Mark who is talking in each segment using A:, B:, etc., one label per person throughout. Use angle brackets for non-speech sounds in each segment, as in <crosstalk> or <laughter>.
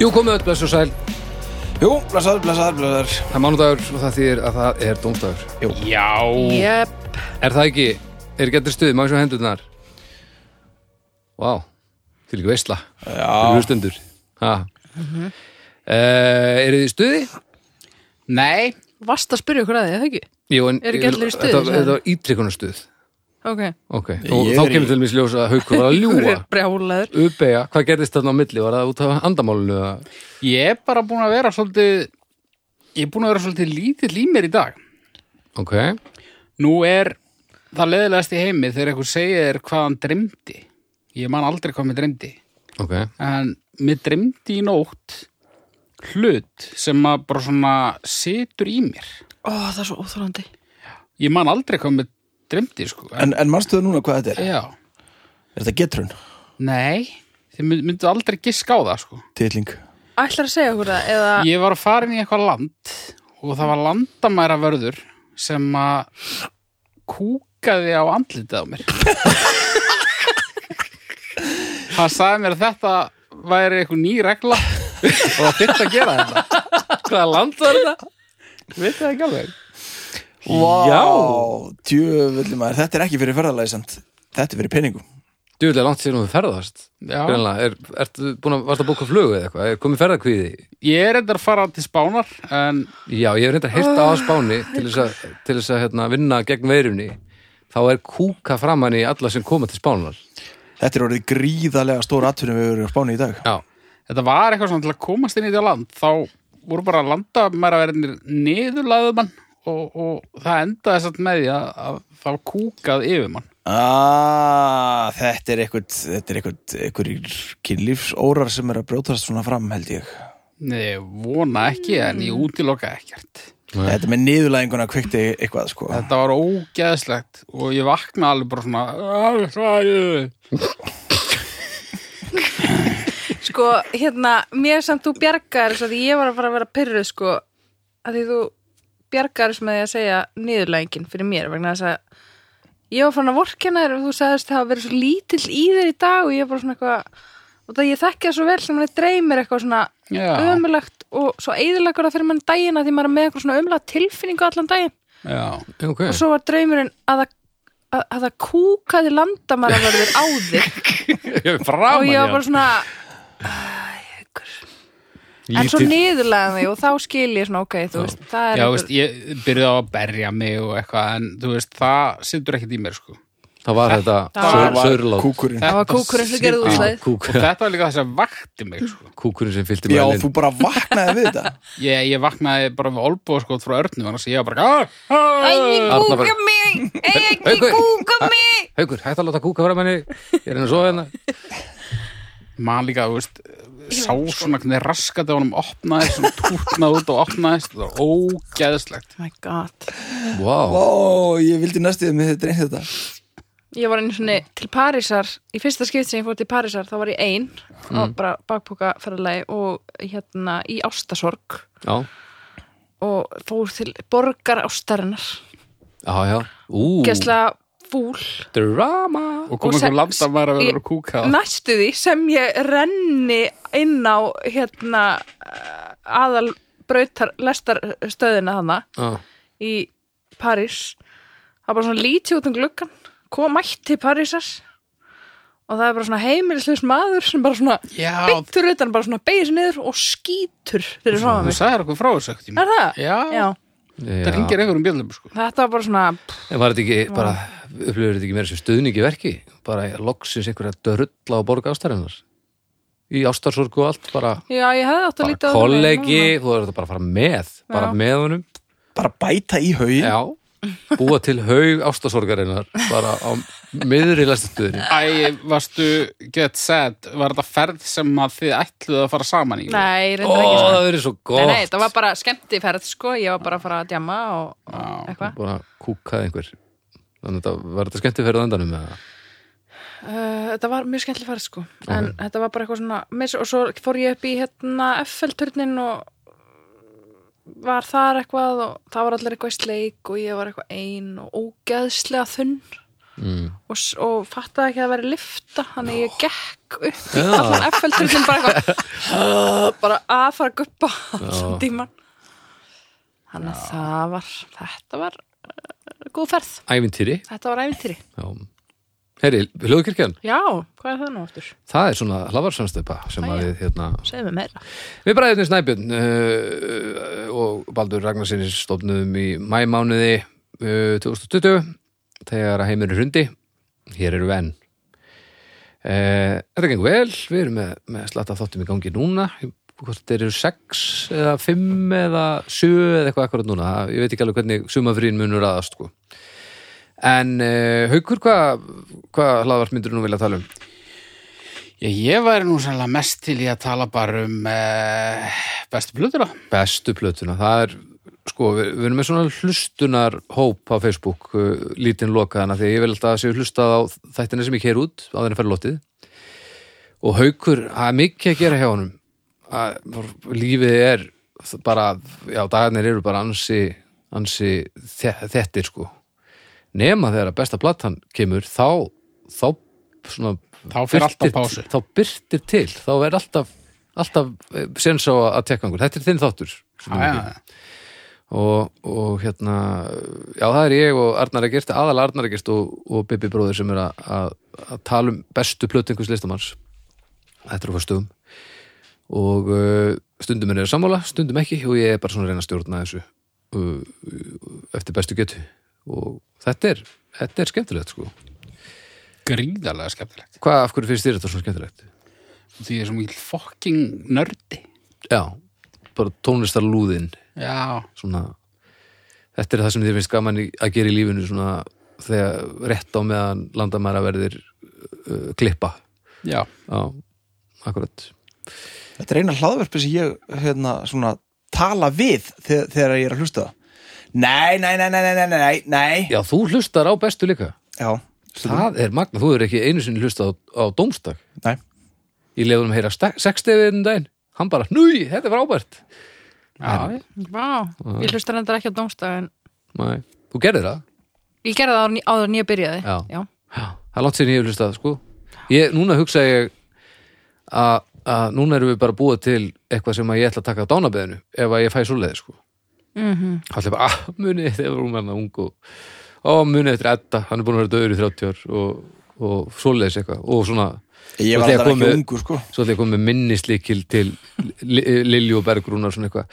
A: Jú, komið öll, bless og sæl.
B: Jú, blessaður, blessaður, blessaður
A: Það er mánudagur og það þýðir að það er dómstagur.
B: Jú,
A: Já.
C: Jöp,
A: Er það ekki? Er getur stuð, maður svo hendurnar. Vá, wow. til ekki veistla.
B: já,
A: Fyrir hlustendur. Ha. Eh, Eru þið í stuði?
D: Nei,
C: varst að spyrja okkur að því, eða ekki?
A: Jú, en...
C: Eru ekki allir í stuði,
A: Þetta-
C: sagði?
A: Þetta var ítrykkunar stuð.
C: Ok,
A: Ok,
B: Ég
A: og
B: er
A: þá
B: í-
A: kemur til mér sljósa að haukur var að
C: hver
A: ljúa.
C: er brjálaður?
A: Uppeja, hvað gerðist þarna á milli? Var það út af andamálinu? eða-
D: ég er bara búin að vera svolítið ég er búin að vera svolítið lítill í mér í dag
A: Ok,
D: Nú er það leðilegast í heimi þegar einhver segir þér hvað hann dreymdi Ég man aldrei hvað mér dreymdi
A: ok,
D: en mér dreymdi í nótt hlut sem að bara svona situr í mér
C: Ó, það er svo óþólandi.
D: Ég man aldrei hvað mér dreymdi sko
B: en, en manstu þau núna hvað þetta er?
D: Já,
B: Er þetta getrun?
D: nei þið mynd- myndu aldrei giska á það sko
B: Titling
C: Ætlar að segja okkur það, eða...
D: Ég var að fara inn í eitthvað land og það var landamæra vörður sem að kúkaði á andlitið á mér. <laughs> Hann sagði mér að þetta væri eitthvað ný regla og það þyrfti að gera þetta. Hvaða land var þetta? Veit það ekki alveg.
B: Já Djöfulli maður, þetta er ekki fyrir ferðalæsand Þetta er fyrir peningum
A: djúvilega langt sér nú við ferðast.
D: Já.
A: Greinlega, er, ertu búin að, varst að bóka flugu eða eitthvað? Er komið ferðarkvíði?
D: Ég er reyndar að fara til Spánar en
A: Já, ég hef reyndar heyrt að á
D: Ah.
A: Spáni til þess að, til þess að hérna, vinna gegn veirunni þá er kúka framann í alla sem koma til Spánar
B: Þetta er orðið gríðarlega stór atvinnum við erum á Spáni í dag
A: Já,
D: þetta var eitthvað svona til að komast inn í þetta land þá voru bara landamæra verðinir niðurlaðum mann og, og það endaði satt með því að, að það var kúkað yfir mann
B: Ah, þetta er eitthvað Þetta er eitthvað, eitthvað kynlífsórar sem er að brjótast svona fram held ég
D: Nei, ég vona ekki en
C: Hmm.
D: ég útiloka ekkert
B: Þetta með niðurlæðinguna kvikti eitthvað sko
D: þetta var ógeðslegt og ég vakna alveg bara svona "Ah, "Alveg hræðið."
C: Sko, hérna, mér samt þú bjargar þess að ég var að fara að vera pyrruð, sko, að því þú bjargar þess með því að segja niðurlægingin fyrir mér, vegna þess að ég var farin að vorkenna þér og þú sagðist það að vera svo lítill í þér í dag og ég var bara svona eitthvað, og það ég þekki það svo vel sem hann dreymir eitthvað svona
D: Já.
C: ömulegt og svo eðilegur það fyrir mann daginn að því maður er með eitthvað svona ömulega tilfinningu allan daginn
D: Já.
A: ok
C: og svo var draumurinn að það að, að það kúkaði landamæravörður á þig og
D: framan í
C: ég var
D: hann
C: bara svona "Æ, ykkur." en svo niðurlega mig og þá skil ég svona ok, þú veist, það er
D: Já,
C: einhver-
D: veist, ég byrjaði á að berja mig og eitthvað en þú veist, það situr ekkert í mér sko
A: Það var þetta
C: Það
A: saur-
B: var
A: saurlát
B: kúkurinn
C: það var kúkurinn sem gerði
D: situr-
C: útlæð
A: kúk,
D: og þetta var líka þess að vakti mig sko.
A: Kúkurinn sem fylgdi
B: Já,
A: mælinn.
B: þú bara vaknaði við þetta
D: ég, ég vaknaði bara með olbóðskot frá örnu annars ég var bara "Ah, ah."
C: Æ,
A: Arna bara-
C: kúka mig, Æ, ekki
A: Haukur,
C: kúka mig
A: <laughs> Haukur, hægt að láta kúka framann í Ég er henni að sofa hérna
D: man líka, þú veist sá
C: sko.
D: svona hvernig raskat á honum opnaðist svona tútnað út og opnaðist það var ógeðslegt
C: Oh my god
A: Vá,
B: Ó, ég vildi næstuðið með þetta reynd þetta
C: ég var einu svona til Parísar í fyrsta skipt sem ég fór til Parísar þá var ég ein og bara bakpoka ferðalagi og hérna í ástasorg
A: já,
C: og fór til borgar ástarinnar
A: já, já Ú,
C: gæsla fúl
A: drama
D: og
C: Og
D: komið svo
C: se-
D: landamæra við
C: ég-
D: vorum að kúka á.
C: næstu því sem ég renni inn á hérna aðal brautar lestarstöðina hana
A: Já,
C: í París það er bara svona lítið út um gluggan kom mætti Parísar og það er bara svona heimilisleis maður sem bara svona
D: já,
C: beittur utan bara svona beigir sér niður og skýtur fyrir frá
D: þú
C: mig
D: sagðir okkur frá þessu ekkert tíma
C: er það?
D: já,
C: Já,
D: það ringir einhverjum bjöllum sko.
C: þetta var bara svona
A: En var þetta ekki, bara, upplifur þetta ekki meira sem stuðning í verki? Bara loksins einhverja dörrulla á borga ástarinnar? Í ástarsorg og allt, bara,
C: já, ég hefði átt að
A: bara
C: lítið
A: kollegi, þú verður þetta bara að fara með, bara
C: Já.
A: með honum.
B: Bara bæta í haugin
A: Já, búa til haug ástarsorgarinnar, bara á miðri lestuðinni.
D: Æ, varstu get sad var þetta ferð sem að þið ætluðu að fara saman í
A: Ó,
C: Nei, reyndar ekki sko. svona
A: það verður svo
C: Nei, nei,
A: gott.
C: það var bara skemmtiferð, sko, ég var bara að fara að djama og og eitthvað.
A: Bara kúkaði einhver. Þannig að þetta var þetta skemmti fyrir endanum með það.
C: Uh, þetta var mjög skemmtileg ferð, sko, en þetta var bara eitthvað svona, mis, og svo fór ég upp í hérna F-felturnin og var þar eitthvað og það var allir eitthvað í sleik og ég var eitthvað ein og ógeðslega þunn og, s- og fattaði ekki að það væri lifta þannig að ég gekk upp í
A: Já.
C: allan F-felturinn bara eitthvað <gasps> bara að fara að guppa allan tíman þannig að það var þetta var uh, góð ferð
A: Ævintýri
C: þetta var ævintýri
A: Já. Herri, hljóðkirkjan,
C: já, hvað er það nú aftur?
A: það er svona hlavarsamstöpa sem að við, hérna,
C: segðu mig meira
A: við bræðinni Snæbjörn uh, og Baldur Ragnarsinni stofnuðum í mæmánuði uh, 2020 þegar að heimurinn hrundi hér eru við enn uh, Þetta gengur vel, við erum með, með slatta af þáttum í gangi núna Ég- hvort þeir eru sex eða fimm eða sjö eða eitthvað akkurat núna Það- ég veit ekki alveg hvernig sumafrín munur aðast sko. en uh, haukur hvað hva hlaðvart myndur nú vilja tala um?
D: Ég, ég væri nú sannlega mest til í að tala bara um eh, bestu plötuna.
A: bestu plötuna það er, sko, við, við erum með svona hlustunar hóp á Facebook uh, lítinn lokaðana, því að ég vil alltaf að séu hlustað á þættina sem ég keir út á þeirna ferði lotið og haukur, það er mikið að gera hjá honum að, bara- lífið er bara, já, dagarnir eru bara ansi, ansi þe- þettir, sko nema þegar að besta platan kemur þá, þá svona
D: Þá fer allt á
A: birtir-
D: pásu.
A: þá byrtir til, þá er alltaf alltaf eh, séns á að tekka einhver þetta er þinn þáttur sem er
D: Já, já,
A: ekki. og, og hérna já það er ég og Arnar Egert aðal Arnar Egert og, og Bibi bróðir sem er að- að að tala um bestu plötingus listamanns þetta er á fyrstum og uh, stundum er sammála, stundum ekki og ég er bara svona að reyna að stjórna þessu uh, eftir bestu getu og þetta er, þetta er skemmtilegt sko
D: gríðarlega skemmtilegt.
A: hvað, af hverju finnst þér þetta svona skemmtilegt?
D: Því ég er svo mikil fokking nördi.
A: já, bara tónlistarlúðin
D: Já,
A: svona þetta er það sem þér finnst gaman í, að gera í lífinu svona þegar rétt á meðan landamæra verðir uh, klippa
D: já.
A: já, akkurat
B: Þetta er eina hlaðverfi sem ég hérna, svona, tala við þegar, þegar ég er að hlusta það. Nei, nei, nei, nei, nei, nei, nei, nei.
A: já, þú hlustar á bestu líka
B: Já, stundum.
A: það er magna, þú er ekki einu sinni hlustað á, á dómstak
B: Nei.
A: ég leiðum að heyra sextefið enn daginn hann bara, núi, þetta er frábært
D: já.
C: Vá, ég hlustar endur ekki á dómstag en
A: Nei. þú gerðir það
C: ég gerði það áður en ég- áður en ég byrjaði
A: Já. Já, það er langt sér ég hef hlustað sko. ég, núna hugsa ég að að núna erum við bara búið til eitthvað sem að ég ætla að taka á dánabeðinu ef að ég fæ svo leið sko. mm
C: Mhm.
A: -hmm. allir bara, ah, munið þegar hún verða ung og ó, munið eftir Edda, hann er búin að vera döður í 30 ár og, og svo leiðis eitthvað og svona,
B: Ég var
A: svo ætla ég
B: alltaf
A: að koma
B: ekki
A: með-
B: ungur, sko.
A: svo ætla ég að koma með minnislíkil til Li- Lilju og Bergrúnar svona eitthvað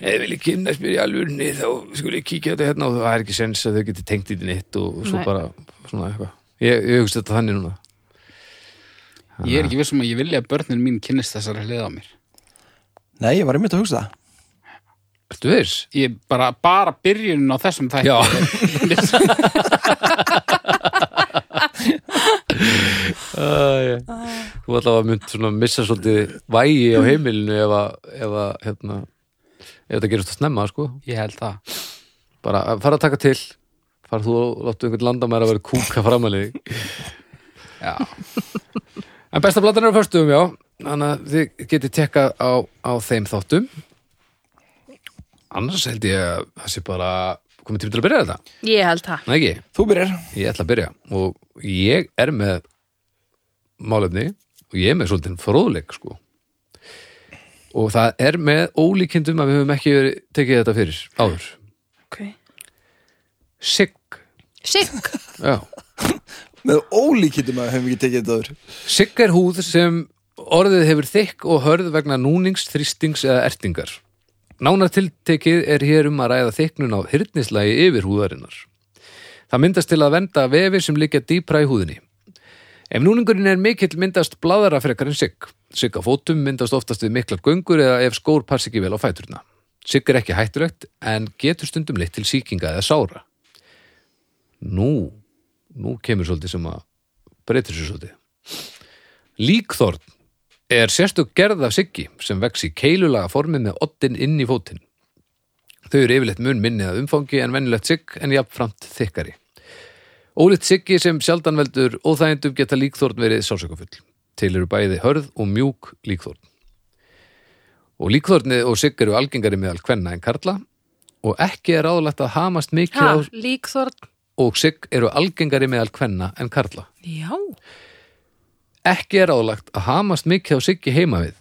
A: eða vil ég kynna spyrir í alvörni þá skulle ég kíkja á þetta hérna og það er ekki sens að þau geti tengt í þetta neitt og svo
C: Nei.
A: bara svona eitthvað ég, ég hugsa þetta þannig núna
D: Ég er ekki vissum að ég vilja að börnin mín kynnist þessari hlið á mér.
B: Nei, ég var einmitt að hugsa það.
A: Ertu viss?
D: Ég bara, bara byrjunin á þessum þætti.
A: Já.
D: <laughs>
A: Uh, Þú ætla að mynd svona missa svolítið vægi á heimilinu ef að, ef að hérna, ef þetta gerist að snemma sko
D: Ég held það.
A: bara að fara að taka til fara þú og láttu einhvern landamæra að vera kúka framæli
D: Já.
A: en besta platan er á förstum já þannig að þið getið tekkað á, á þeim þáttum annars held ég að það sé bara komið tími til að byrja þetta
C: ég held það
A: Nei, ekki?
B: Þú byrjar.
A: ég ætla að byrja og ég er með málefni og ég er með svolítið fróðleik sko og það er með ólíkindum að við höfum ekki verið tekið þetta fyrir áður
C: okay.
A: Sigg
C: Sigg,
A: <laughs> já
B: Með ólíkindum að við höfum ekki tekið þetta öður.
A: Sigg er húð sem orðið hefur þykk og hörð vegna núnings, þrýstings eða ertingar. Nánar tiltekið er hér um að ræða þyknun á hyrnislagi yfir húðarinnar. Það myndast til að venda vefi sem liggja dýpra í húðinni. Ef núningurinn er mikill myndast bladara frekar en sigg. Sigg á fótum myndast oftast við miklar göngur eða ef skór pass ekki vel á fæturna. Sigg er ekki hættulegt en getur stundum leitt til sýkinga eða sára. Nú, nú kemur svolítið sem að breytir sér svolítið. Líkþorn er sérstök gerð af siggi sem vex í keilulaga formi með oddin inn í fótinn. Þau eru yfirleitt mun minni að umfangi en venjulegt sigg en jafnframt þykkari. Ólitt siggi sem sjaldan veldur óþægindum geta líkþorn verið sásökafull. Til eru bæði hörð og mjúk líkþorn. Og líkþorni og sigg eru algengari meðal kvenna en karla og ekki er ráðlegt að hamast mikið
C: ha,
A: á
C: líkþorn
A: og sigg eru algengari meðal kvenna en karla.
C: Já,
A: Ekki er álagt að hamast mikið á siggi heima við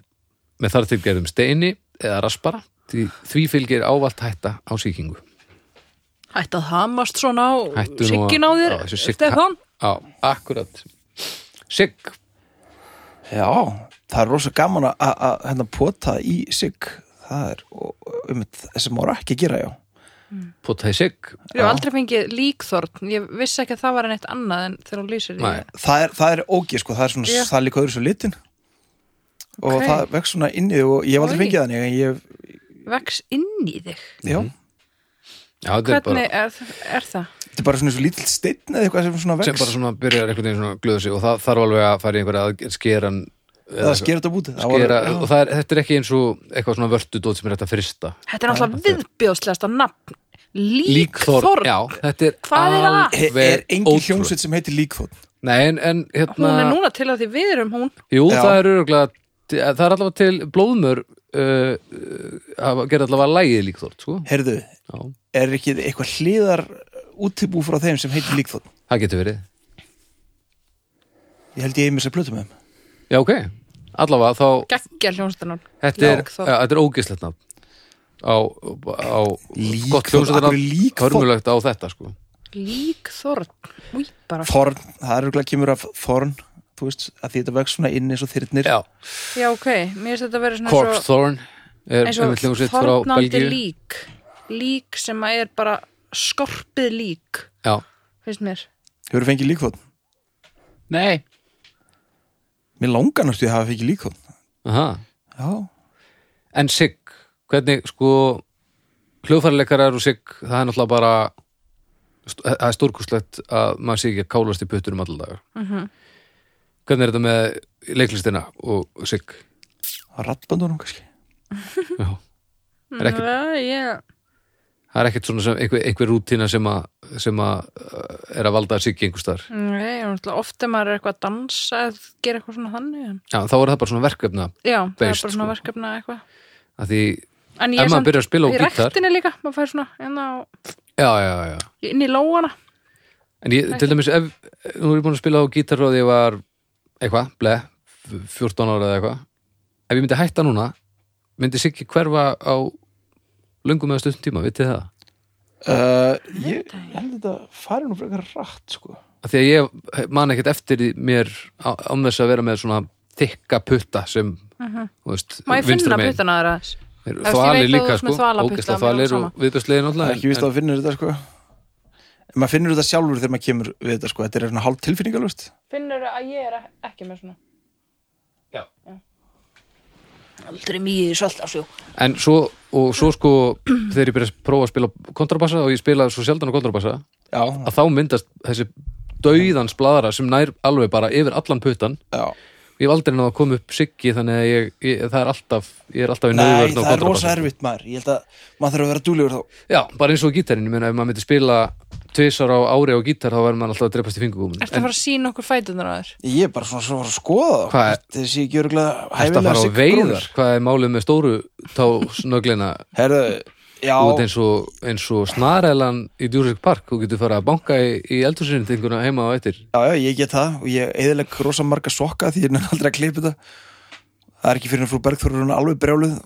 A: með þar til gerðum steini eða raspara því, því fylgir ávallt hætta á sýkingu.
C: hætti að hamast svona á
A: Hættu nú að-
C: siggin á þér,
A: Já, þessi sigg-
C: Stefán
A: Já, akkurat. Sigg,
B: Já, það er rosa gaman að- að að, hérna pota í sig það er og- og um þetta sem maður á ekki að gera já
A: potaði sigg.
C: Ég hef aldrei fengið líkþorn, ég vissi ekki að það var en eitt annað en þegar hún lýsir því
A: Nei.
B: það er, það er ógið sko, það er svona
C: Já.
B: það er líka öðru svo litin og
C: Ok.
B: það vex svona inni og ég hef aldrei
C: Oj.
B: fengið þannig en ég,
C: vex inn í þig.
B: já,
A: Já, þetta er bara,
C: Hvernig er, er það?
B: þetta er bara svona svo lítill steinn eða eitthvað sem svona vex
A: sem bara svona byrjar einhvern veginn svona að glöða sig og það þarf alveg að fara í einhverja að skera hann
B: eða sker þetta búti
A: skera, og það er, þetta er ekki eins og eitthvað svona vördudót sem er hægt að frista
C: Þetta er náttúrulega viðbjóðslegasta nafn.
A: Líkþorn,
C: Líkþorn.
A: já, þetta er
C: Hvað er að?
A: alveg
B: er engin
A: ótrúlegt.
B: hljómsveit sem heitir líkþótt
A: Nei, en, en hérna,
C: Hún er núna til að því við erum hún.
A: jú,
B: Já.
A: það er öruglega það er allavega til blóðmör uh, uh, gerði allavega lægið líkþorn, sko
B: heyrðu,
A: já,
B: er ekki eitthvað hliðar útibú frá þeim sem heitir líkþótt
A: það getur verið
B: ég held ég einmiss að plötu með þeim
A: Já, ok, allavega þá
C: Gekkja hljónstanum.
A: þetta er,
C: Líkþorn.
A: ja, þetta er ógislegt nafn á, á
B: Líkþorn, af
A: gott
B: hverju
A: hljómsveitarnafn
B: líkþorn?
A: hörmulegt á þetta, sko
C: Líkþorn. Új, bara.
B: þorn, það er eitthvað kemur af þorn þú veist, að því þetta vex svona inn eins og þyrnir
A: Já,
C: Já, ok. Mér finnst þetta að vera svona
A: Corpse Thorn er
C: eins og,
A: einmitt
C: eins og
A: hljómsveit frá
C: þornandi
A: Belgíu
C: lík. Lík sem að er bara skorpið lík,
A: Já,
C: finnst mér.
B: hefur þú fengið líkþótt?
D: Nei,
B: mér langar náttúrulega að hafa fengið líkþótt
A: aha
B: já,
A: En Sig, hvernig sko hljóðfærleikarar og Sig það er náttúrulega bara st- það er stórkustlegt að maður sé ekki að kálast í puttur um alladaga mm -hmm. Hvernig er þetta með leiklistina og Sig?
B: rattbandunum kannski
A: Já. Er ekkert-
C: Nei, ég...
A: Það er ekkert svona sem einhver, einhver rútína sem að sem að uh, er að valda að Sig einhvers þar
C: Nei, náttúrulega ofte maður er eitthvað að dansa eða gera eitthvað svona þannig. en-
A: Já, þá er það bara svona verkefna
C: Já, það
A: Based,
C: er bara svona
A: sko.
C: verkefna eitthvað.
A: að því,
C: En
A: Ef maður byrjar að spila á
C: í
A: gítar.
C: rættinni líka, maður fær svona hérna á,
A: já, já, já
C: inn í lóana.
A: En ég, til dæmis, ef, nú er ég búin að spila á gítar og ég var, eitthvað, ble, f- 14 ára eða eitthvað. Ef ég myndi hætta núna, myndi Siggi hverfa á löngum eða stundum tíma, vitið þið það?
B: Uh, ég ég held þetta fari nú frekar rætt sko.
A: Af því að ég man ekkert eftir í mér á- án þess að vera með svona þykka putta sem, þú veist,
C: Má ég
A: vinstra
C: finna
A: megin.
C: puttana þeirra þess?
A: Þeir eru
C: veist, ég
A: Þvalir
C: veit að þú
A: líka,
C: ert með
A: sko,
C: þvalaputta,
A: ógeðslega
C: mér er
A: þvalir
C: alveg
A: og viðbjörnslegin
B: það
A: alltaf.
B: er ekki víst að þú finnir þetta sko. en maður finnur þetta sjálfur þegar maður kemur við þetta sko. þetta er svona hálf tilfinningalust
C: Finnur að ég er ekki með svona?
A: Já.
C: Aldrei mýði svöld á sjó.
A: En svo, og svo sko, þegar ég byrja að prófa að spila kontrabassa og ég spila svo sjaldan á kontrabassa,
B: já,
A: að þá myndast þessi dauðans bladra sem nær alveg bara yfir allan puttan
B: já.
A: ég hef aldrei náða að koma upp siggi þannig að ég, ég, það er alltaf ég er alltaf í
B: Nei,
A: nöðvörn
B: það er rosa erfitt maður ég held að maður þarf að vera dúlegur þá
A: já, bara eins og gítarinn, ég meina ef maður myndi spila tvisar á ári á gítar þá verður maður alltaf að drepast í fingugúmin
C: Ertu að fara að sína okkur fætunar á þér?
B: ég er bara svona svona að skoða þá.
A: Hvað er-
B: þessi ekki örgulega
A: Ertu að
B: hæfilega
A: fara á
B: sig
A: veiðar, hvað er málið með stóru tá snöglina
B: herðu, já,
A: út eins og, eins og snarelan í Jurassic Park, þú getur fara að banka í, í eldhúsinu til einhverjum heima á eittir
B: já, já, ég get það og ég eðileg rosa marga sokka því ég er aldrei að klippa þetta það er ekki fyrir en frú Bergþór er hún alveg brjáluð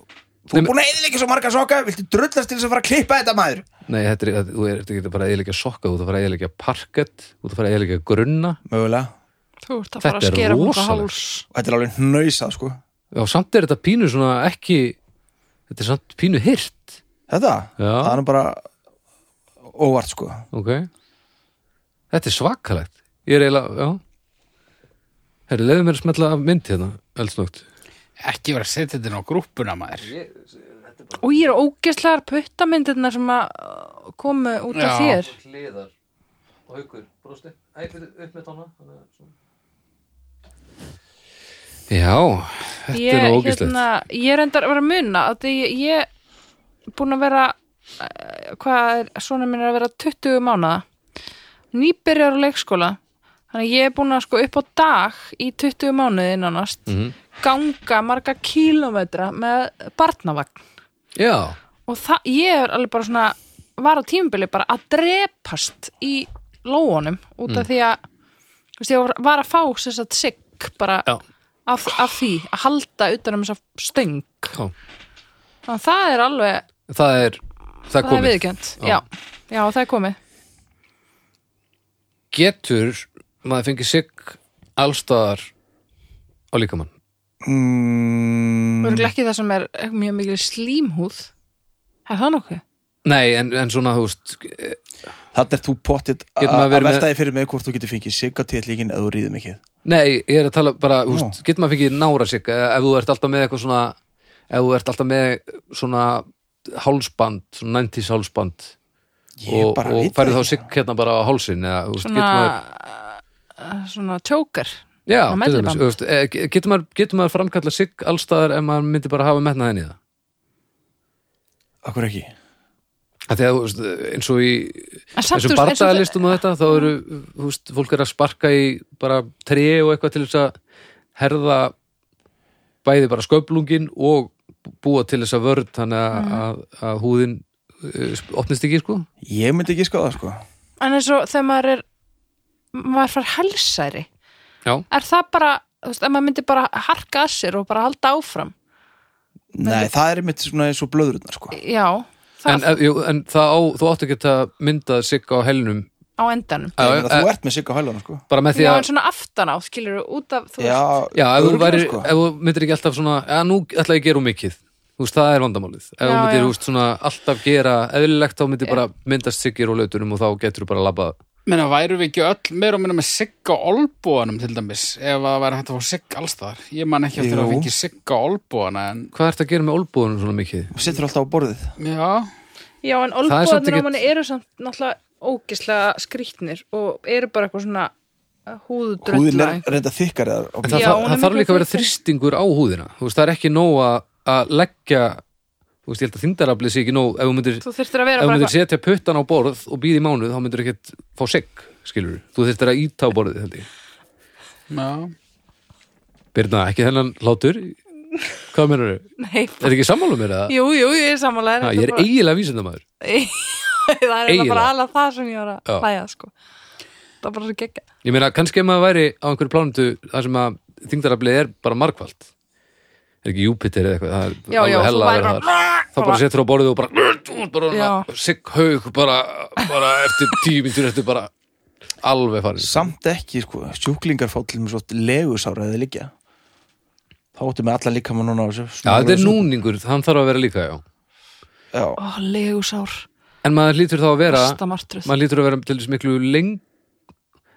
B: þú
A: Nei,
B: er búin að eðilegja svo marga sokka viltu drullast til þess að fara að klippa þetta maður
A: nei, þetta er, þetta- þú ert ekki bara að eðilegja sokka þú ert að fara að eðilegja parkett, þú ert að fara að eðilegja grunna
B: mögulega
C: Þú ert að
A: Þetta
C: fara að
A: er
C: skera hún á
A: rosalegt.
C: háls.
B: og þetta er alveg nöysað sko
A: Já, samt er þetta pínu svona ekki Þetta er samt pínu hirt
B: þetta,
A: Já.
B: það er nú bara óvart sko
A: Ok Þetta er svakalegt Ég er eiginlega, já Herri, leiðu mér að smetla af mynd hérna Eldsnögt
D: ekki vera að setja þetta inn á grúppuna maður.
C: Og ég er ógeðslegar puttamyndirna sem að uh, komu út af
D: Já.
C: þér.
A: Hliðar og haukur brosti Æ, fyrir upp með tóna Já, þetta er nú
C: Ég,
A: ógislegt
C: hérna, ég er endar að vera að muna að því ég er búin að vera, eh, hvað er, svona minn er að vera 20 mánaða. Nýbyrjar á leikskóla. Þannig að ég er búin að sko upp á dag í 20 mánuði nánast
A: Mhm.
C: ganga marga kílómetra með barnavagn.
A: Já,
C: og það, ég er alveg bara svona var á tímubili bara að drepast í lóunum út
A: Mm.
C: af því að þú veist, ég var- var að fá sér satt sigg bara
A: Já.
C: af, af því að halda utan um þessa stöng
A: Já.
C: Þannig að það er alveg,
A: það er, það er
C: það er
A: komið
C: viðkjönd
A: Já. Mm.
C: já. já, það er komið
A: getur maður fengið sigg allstaðar á líkamann
B: mm,
C: mm. ekki það sem er mjög mikil slímhúð er það nokkuð?
A: nei, en, en svona, þú veist eh,
B: Þannig er þú pottitt að
A: Getur maður verið með-
B: velta þig fyrir með hvort þú getur fengið siggatillíkin eða þú ríðum ekki
A: nei, ég er að tala bara, þú veist,
B: Já.
A: getur maður fengið nára sigg eh, ef þú ert alltaf með eitthvað svona ef þú ert alltaf með svona hálsband, svona 90s hálsband
B: Ég
A: og,
B: bara
A: og
B: veit
A: færið
B: það
A: þá sigg hérna bara á hálsin eða, þú veist, getur
C: svona, eh,
A: maður
C: svona tjókar
A: Já,
C: Á
A: til
C: melliband.
A: dæmis, þú veist, eh, ge- getur maður, getur maður framkalla sigg allstaðar ef maður myndi bara hafa metnað henni í það?
B: Akkur ekki
A: Af því að, þú veist, eins og í
C: en samt
A: þessum
C: þú veist, eins og það-
A: bardaðalistum og þetta, þá eru, þú veist, fólk er að sparka í bara tré og eitthvað til þess að herða bæði bara sköplungin og búa til þess að vörð þannig
C: Mhm.
A: að, að, að húðin eh, sp- opnist ekki, sko?
B: Ég myndi ekki skoða það sko
C: en eins og þegar maður er maður far helsæri
A: Já,
C: er það bara, þú veist, að maður myndi bara harka að sér og bara halda áfram
B: Nei, það er mitt svona eins og blöðrunar sko
C: já, það
A: en, eh, jú, en það á, þú átt ekki að mynda sigg á helnum
C: á endanum
B: Ég
A: Já,
B: meina,
A: eh,
B: Þú ert með sigga hælunum sko
A: bara með því
C: já,
A: að
C: en svona aftan á, skilur þú, út af þú veist,
B: Já,
A: Já, ef þú,
B: örugglega,
A: væri,
B: sko.
A: ef þú myndir ekki alltaf svona Já, nú ætla ég að gera um mikið Þú veist, það er vandamálið Ef þú
C: Já,
A: myndir
C: já.
A: þú veist, svona, alltaf gera eðlilegt þá myndir bara myndast siggir og lautunum og þá getur þú bara að labba
D: Meina, væru við ekki öll meira og meina með sigg á olbúanum til dæmis ef að það væri hægt að fá sigg alls þar ég man ekki eftir
B: Jú.
D: að það fengi sigg á olbúana en
A: Hvað ertu að gera með olbúðunum svona mikið?
B: Þú Sittur alltaf á borðið
D: já,
C: já, en
A: er samt
C: olbúðanir
A: ekkert-
C: á manni eru samt náttúrulega ógislega skrýtnir og eru bara eitthvað svona eh,
B: Húðin
C: húðudrölla
B: er reynda þykkar eða á-
A: En það,
C: Já,
A: það,
C: hún er
A: það þarf
C: miklu
A: líka að vera
C: þykkari.
A: þrýstingur á húðina Þú veist, það er ekki nóg að, að leggja Þú veist, ég held að þingdaraflið sé ekki nóg ef þú myndir,
C: þú þurftir að
A: ef
C: vera
A: þú
C: bara
A: myndir setja puttan á borð og býði í mánuð þá myndir ekkert fá sigg, skilur Þú þyrftir að íta á borðið, held ég
D: já
A: Birna, ekki þennan hlátur Hvað menur þau?
C: Nei,
A: Er ekki sammála mér eða?
C: jú, jú, ég er samanlega
A: Ha, ég er eiginlega vísindamæður
C: <laughs> það er eiginlega bara
A: eiginlega.
C: alveg það sem ég var
A: Já.
C: að hlæja sko. það er bara svo geggja
A: Ég meina, kannski ef maður væri á einhverju plánutu þar sem að þingdaraflið er bara margfald er ekki Júpiter eða eitthvað það er
C: já, já,
A: alveg
C: þú
A: hella að
C: væri
A: vera
C: bara
A: þar þá bara setur á borðið og bara, bara, bara
C: Já.
A: sigg haug bara, bara eftir tíu myndir eftir bara alveg farin
B: Samt ekki sko Sjúklingar fá til mér svo legusára eða liggja Þá áttu með alla líkamann núna á þessu
A: Já, þetta er núningur, hann þarf að vera líka, já
B: Já,
C: ó, legusár,
A: En maður lítur þá að vera
C: besta martröð
A: maður lítur að vera til þess miklu leng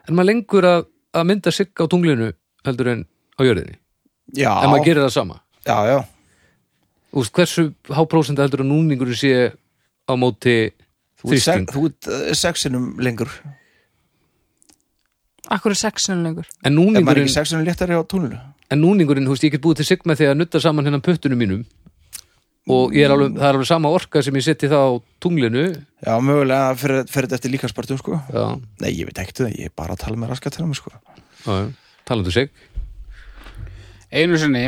A: en maður lengur að, að mynda sigg á tunglinu heldur en á jörðinni
B: já,
A: en maður gerir það sama
B: já, já.
A: Þú veist, hversu háprósenda heldur að núningur sé á móti
B: Þú ert
A: þrýsting?
B: sex- Þú ert uh, sexinum lengur
C: akkur er sexinu lengur
A: En
B: Ef maður er ekki
A: núningurinn,
B: sexinum léttari á túnlu
A: en núningurinn, þú veist, ég get búið til sigma þegar að nutta saman hennan puttunum mínum og ég er alveg, það er alveg sama orka sem ég seti það á tunglinu
B: Já, mögulega fyrir, fyrir þetta eftir líkanspartum sko
A: Já,
B: Nei, ég veit ekkert um það, ég er bara að tala með raskatærum sko.
A: já, já, talandu sig
D: einu sinni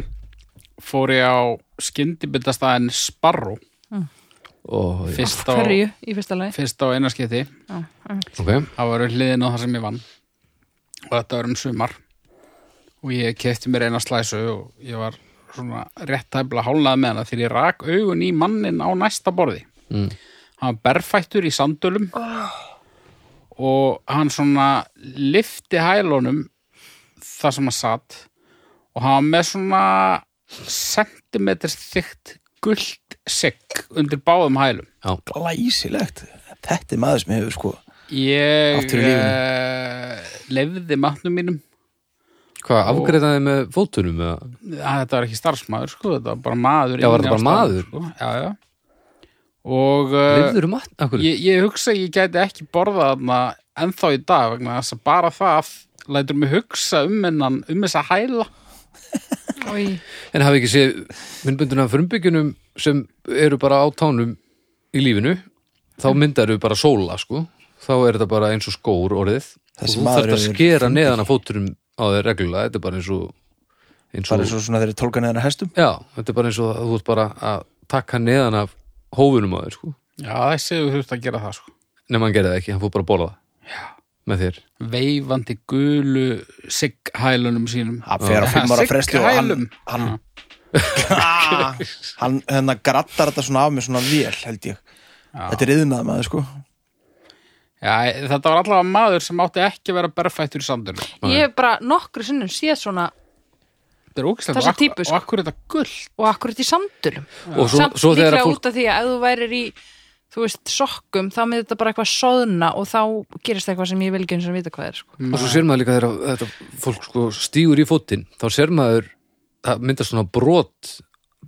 D: fór ég á skyndibitastæðin Sparro
A: og, já,
D: fyrst á,
C: hverju í fyrsta lagi
D: fyrst á einarskipti
C: Já, einmitt.
A: ok,
D: það var hliðin á það sem ég vann og þetta var um sumar og ég kefti mér eina slæsu og ég var svona rétt tæfla hálnað með hana þegar ég rak augun í mannin á næsta borði
A: Mm.
D: hann var berfættur í sandölum og hann svona lifti hælunum þar sem hann satt og hann var með svona sentimetr þykkt gult sigg undir báðum hælum
A: já,
B: Glæsilegt Þetta er maður sem hefur sko
D: Ég
B: Aftur í lífinu.
D: uh, lefði matnum mínum
A: hvað, afgreitaði með fótunum eða?
D: Að Ah, Þetta var ekki starfsmaður sko, þetta var bara maður
A: Já, var þetta
D: inni á
A: bara
D: staðnum,
A: maður?
D: Sko. Já, já Og uh,
A: Leifður um að, akkur,
D: ég, ég hugsa að ég gæti ekki borðað þarna ennþá í dag vegna þess að bara það lætur mig hugsa um hennan, um þess að hæla
C: Oj.
A: en hafi ekki séð myndbunduna frumbyggjunum sem eru bara á tánum í lífinu, þá myndar bara sóla, sko, þá er þetta bara eins og skór orðið og
B: Þessi
A: þú
B: maður
A: þarf að
B: er
A: skera neðan að fótunum á þeir reglulega, þetta er bara eins og eins
B: Það
A: og,
B: er svo svona þeirri tólka neðan að hestum
A: já, þetta er bara eins og að þú ert bara að taka neðan af hófunum á þeir, sko,
D: Já, þessi þú þurft að gera það sko
A: nema hann gerði það ekki, hann fór bara að borða það með þér
D: veifandi gulu sigghælunum sínum
B: Hann fer á fimm ára fresti og hann,
D: Sigghælum.
B: hann, <laughs> Ah, hann hérna grattar þetta svona af mig svona vel held ég Þetta er yðnað maður sko
D: Já, þetta var allavega maður sem átti ekki að vera berfættur í sandunum.
A: Nei.
C: Ég hef bara nokkru sinnum séð svona
D: Þetta er ógæslega.
C: Þessa típu, sko.
D: Og akkur er þetta gullt.
C: og akkurat í sandulum
A: Og svo-
C: samt
A: svo þegar
C: líklega
A: að fólk-
C: út af því að ef þú værir í þú veist, sokkum, þá myndi þetta bara eitthvað soðna og þá gerist eitthvað sem ég vil ekki eins og vita hvað er sko.
A: og svo sér maður líka þegar að þetta fólk sko stígur í fótinn, þá sér maður það myndast svona brot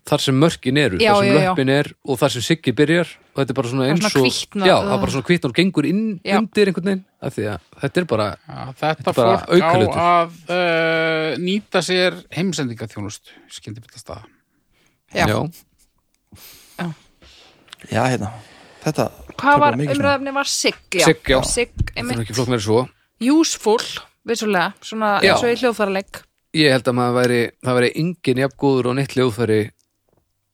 A: þar sem mörkin eru,
C: Já,
A: þar sem
C: já, já.
A: löppin er og þar sem siggi byrjar og þetta er bara svona
C: er
A: eins
C: svona
A: og
C: hvítnar,
A: já,
C: uh.
A: það er bara svona kvítnar og gengur inn
C: Já.
A: undir einhvern veginn, af því að þetta er bara
D: Já, þetta
A: er bara
D: fólk
A: aukalutur.
D: á að uh, nýta sér heimsendingaþjónust, skyndi byrja staða.
C: Já.
B: Já, hérna, þetta
C: Hvað var um
B: mikið svona.
C: umræðafni var sigg? já.
A: Sigg, já.
C: Sigg,
A: það er
C: einmitt.
A: ekki flokk meira svo
C: Useful, vissulega, svona
A: Já.
C: eins og í hljóðfæraleg
A: ég held að maður væri, það væri engin jafn góður og neitt ljóðfæri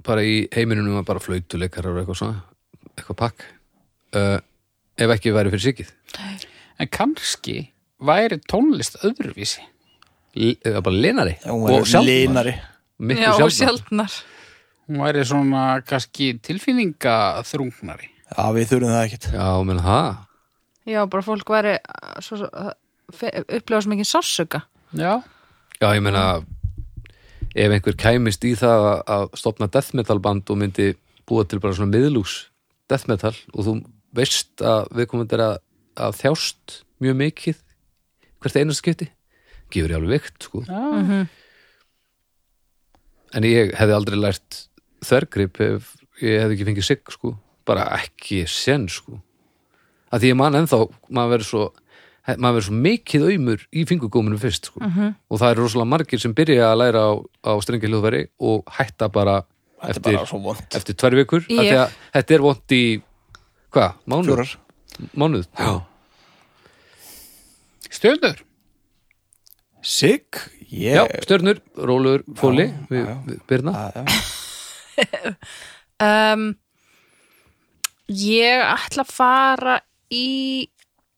A: bara í heiminunum að bara flautuleikar og eitthvað svona, eitthvað pakk uh, ef ekki væri fyrir siggið
D: En kannski væri tónlist öðruvísi.
A: L- eða bara linari
B: Hún er linari.
A: miklu
C: Já, og
A: sjaldnar
C: sjaldnar
D: Hún væri svona kannski tilfinningaþrungnari.
B: Já, við þurfum það ekkit
A: já, menn það
C: Já, bara fólk væri uh, svo, svo, uh, fe- upplifa sem ekki sásöka
D: Já.
A: já, ég meina ef einhver kæmist í það að- að stopna death metal band og myndi búa til bara svona miðlús death metal og þú veist að við komum þetta að, að þjást mjög mikið hvert einast skipti gefur ég alveg veikt sko
D: Já.
C: Mhm.
A: en ég hefði aldrei lært þvergrip ef ég hefði ekki fengið sig sko, bara ekki sen sko, að því ég man ennþá maður verður svo he- maður verður svo mikið auðmur í fingurgóminum fyrst sko. og það eru rosalega margir sem byrja að læra á, á strengi hljóðveri og hætta bara
B: Þetta er
A: eftir,
B: bara svo vond
A: eftir tvær vikur af því
C: Ég-
A: að þetta er vont í hvað, mánuð?
B: Fjórar
A: mánuð? Já.
D: Stjörnur.
B: Sigg, ég
A: Já, stjörnur, rólur, fóli við,
B: já.
A: við byrna,
B: Ah, Já, já.
C: um, Ég ætla að fara í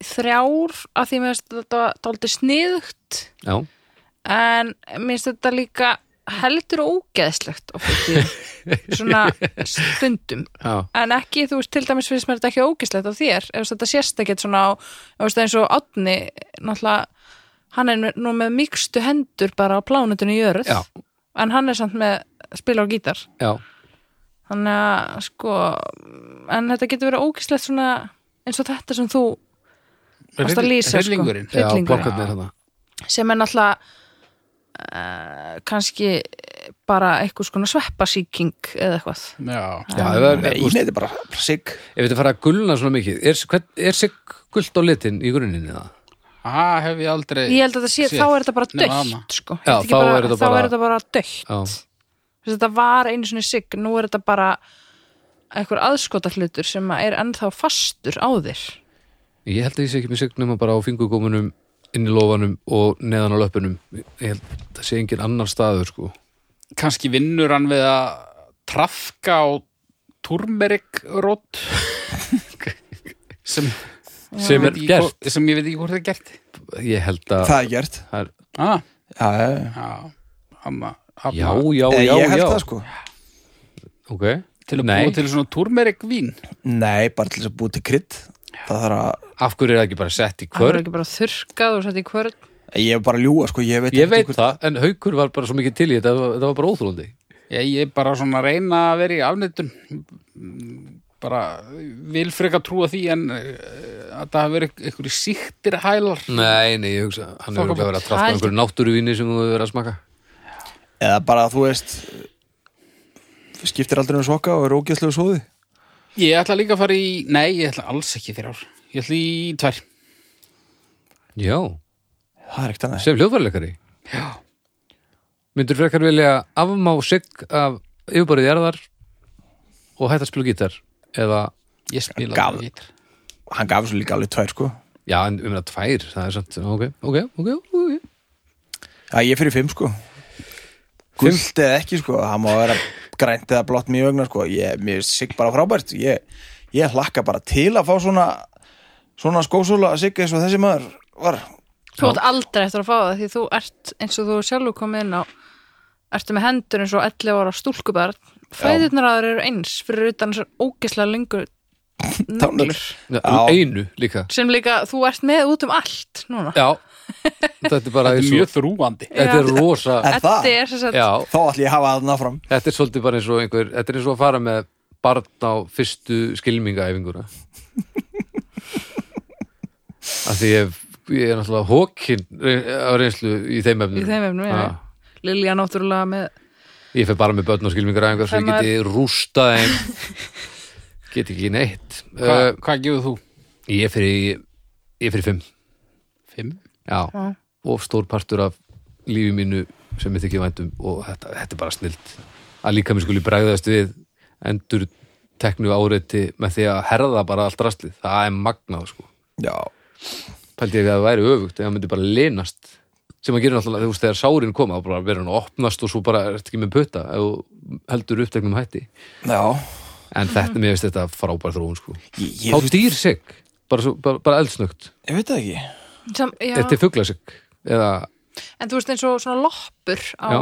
C: þrjár af því mér finnst þetta dálítið sniðugt
A: já,
C: en mér finnst þetta líka heldur ógeðslegt oft á tíðum. svona stundum
A: já.
C: en ekki, þú veist, til dæmis finnst mér þetta ekki ógeðslegt á þér, ef þetta sést ekki svona á, ef þetta eins og átni náttúrulega, hann er nú með mikstu hendur bara á plánutunni í jörð
A: Já.
C: en hann er samt með spila á gítar
A: já.
C: þannig að sko en þetta getur verið ógislegt svona eins og þetta sem þú varst að lýsa sko,
D: Rillingurinn.
A: já
C: hryllingurinn.
A: plakkarnir þarna.
C: sem er náttúrulega uh, kannski bara eitthvað svona sveppasíking eða eitthvað
D: Já.
A: Já, ef það er-
B: Nei, nei, þetta er bara sigg
A: Ef þetta fara að gulna svona mikið, er, hvern, er sig gult á litin í gruninni það?
D: Það hef ég aldrei.
C: ég held að það sé,
D: séð.
C: þá er þetta bara
D: Nema þarna.
C: dögt sko.
A: Já,
C: Er þetta ekki
A: þá
C: bara,
A: er þetta
C: þá
A: bara-
C: er þetta bara dögt
A: Já.
C: Þess að þetta var einu svona sigg, nú er þetta bara einhver aðskota hlutur sem að er ennþá fastur á þér
A: Ég held að ég sé ekki með sig nema bara á fingurgómunum, inn í lófanum og neðan á löpunum. Ég held að það sé engin annar staður sko.
D: kannski vinnur hann við að trafka á turmerikrót sem,
A: Sem
D: ég
A: er
D: veit ekki
A: gert.
D: hvort- sem ég veit ekki hvort það er gert
A: Ég held að...
B: Það er gert
A: Það er,
D: ah,
B: Já, já, já
D: já, amma,
A: já,
D: amma,
A: já,
B: Eh,
A: já,
B: Ég held
A: já.
B: það sko
A: Ok.
D: til að
A: Nei.
D: búa til svona turmerikvín
B: Nei, bara til þess að búi til krydd Það þarf að
A: Af hverju er Ah, það ekki bara sett í
C: það er
A: kvörn?
C: ekki bara þurrkað og sett í hvörn
B: Ég er bara að ljúga sko Ég veit,
A: Ég
B: ekkert
A: veit
B: hvort-
A: það, en haukur var bara svo mikið til í þetta, það var- þetta var bara óþrólandi.
D: ég, ég er bara svona að reyna að vera í afnýttun bara vil freka trúa því en eh, að það hafi verið einhverju síktir hælar
A: Nei, nei, ég hugsa, hann er
D: Þá kom-
A: örugglega verið að trafta
C: Það-
A: einhverju náttúruvíni sem þú hefur verið að smaka.
B: Eða bara að þú veist Skiptir aldrei um soka og er ógeðslegu svoði
D: ég ætla líka að fara í, nei ég ætla alls ekki þrjár ég ætla í tvær
A: Já,
B: Það er ekkert annað
A: sem hljóðvarleikari.
D: já
A: Myndur frekar vilja afmá sig af yfirborðið jarðar og hætta að spila á gítar eða,
D: Ég spila
B: Gaf-
D: á gítar.
B: Hann gaf svo líka alveg tvær sko
A: já, en um það tvær það er samt, ok, ok, ok, ok
B: Já, ég er fyrir fimm sko Gult eða ekki sko Það má vera grænt eða blott mjög ögna sko Ég, mér er sigg bara frábært Ég, ég hlakka bara til að fá svona svona skósóla að sigga eins og þessi maður var
C: Þú átt aldrei eftir að fá það því þú ert eins og þú sjálfur komið inn á ertu með hendur eins og 11 ára stúlkubarn fæðurnar aður eru eins fyrir utan þessar ógeðslega lengur
B: tánur
C: neglur
A: Já, um
B: Já.
A: einu líka
C: sem líka þú ert með út um allt núna
A: já, þetta er bara
D: Þetta er
A: eins
D: mjög
A: og
D: þrúandi
A: þetta er rosa
B: Er það?
C: Eddi er sem sagt
A: já,
B: Þá ætlum ég að hafa það náfram
A: þetta er svolítið bara eins og einhver þetta er eins og að fara með barn á fyrstu skilmingaæfinguna að því ég, ég er náttúrulega hókin á reynslu í þeim efnum
C: í þeim efnum já.
A: Já.
C: Lilja náttúrulega með
A: Ég fer bara með börn og skilmingaræðingar svo ég
C: Þannig að-
A: geti rústa
D: <laughs>
A: þeim get ekki neitt
D: Hva,
B: Eh,
A: uh,
D: Hvað gefur þú?
A: Ég fer í ég fer í fimm
D: Fimm?
A: Já. og stór partur af lífi mínu sem ég þykir væntum og þetta, þetta er bara snilt að líka mér skuli bregðast við endur teknu áreiti með því að herða bara allt rastlið, það er magnað sko.
B: Já,
A: pældi ég að það væri öfugt eða myndi bara linast sem að gera náttúrulega þú veist, þegar sárin koma þá bara verður hann að opnast og svo bara er ekki með putta ef þú heldur uppteknum hætti
B: já
A: en
C: Mhm.
A: þetta, mér finnst þetta frábær þróun sko.
B: Ég, ég,
A: þá dýr sig bara, svo, bara, bara eldsnögt,
B: ég veit það ekki
C: Sam, já,
A: þetta er fugla sig eða,
C: en þú veist eins og svona loppur á,
A: já,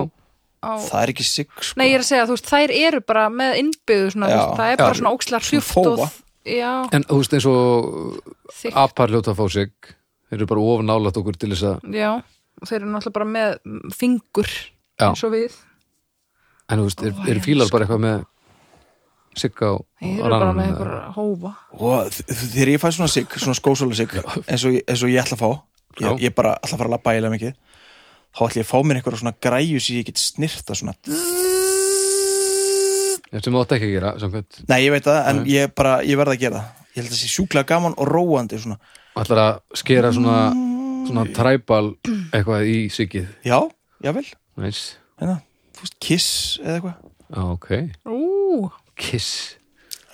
C: á
B: Það er ekki sigg sko
C: Nei, ég er að segja, þú veist, þær eru bara með innbyggðu svona,
B: Já.
C: já, það er bara
A: Já.
C: svona ókslar
B: Svona
C: hrjúft og
B: þófa.
C: já,
A: en þú veist eins og
C: þykkt,
A: apar hljóta að fá sig þeir eru bara of nálægt okkur til þess að
C: já og þeir eru náttúrulega bara með mm, fingur
A: Já.
C: eins og við,
A: en þú veist, er,
C: Ó,
A: eru fílar bara eitthvað með sigga og
C: þeir
A: og
C: eru bara
A: rananum
C: með
A: eða-
C: einhver hófa
B: og þ- þ- þegar ég fæ svona sigg, svona skósóla sigg eins, og ég- eins og ég ætla að fá ég,
A: Já.
B: ég bara ætla að fara að labba eiginlega mikið þá ætla ég að fá mér einhverja svona græju sem ég get snirta svona
A: sem þú átt ekki að gera samkvæmt,
B: Nei, ég veit það, en ég bara, ég verð að gera það Ég held að það sé sjúklega gaman og róandi svona
A: ætlar að skera svona svona træbal eitthvað í siggið
B: Já, jável,
A: nice.
B: hérna, þú veist, kiss eða eitthvað
A: Já, ok,
C: Ú,
A: kiss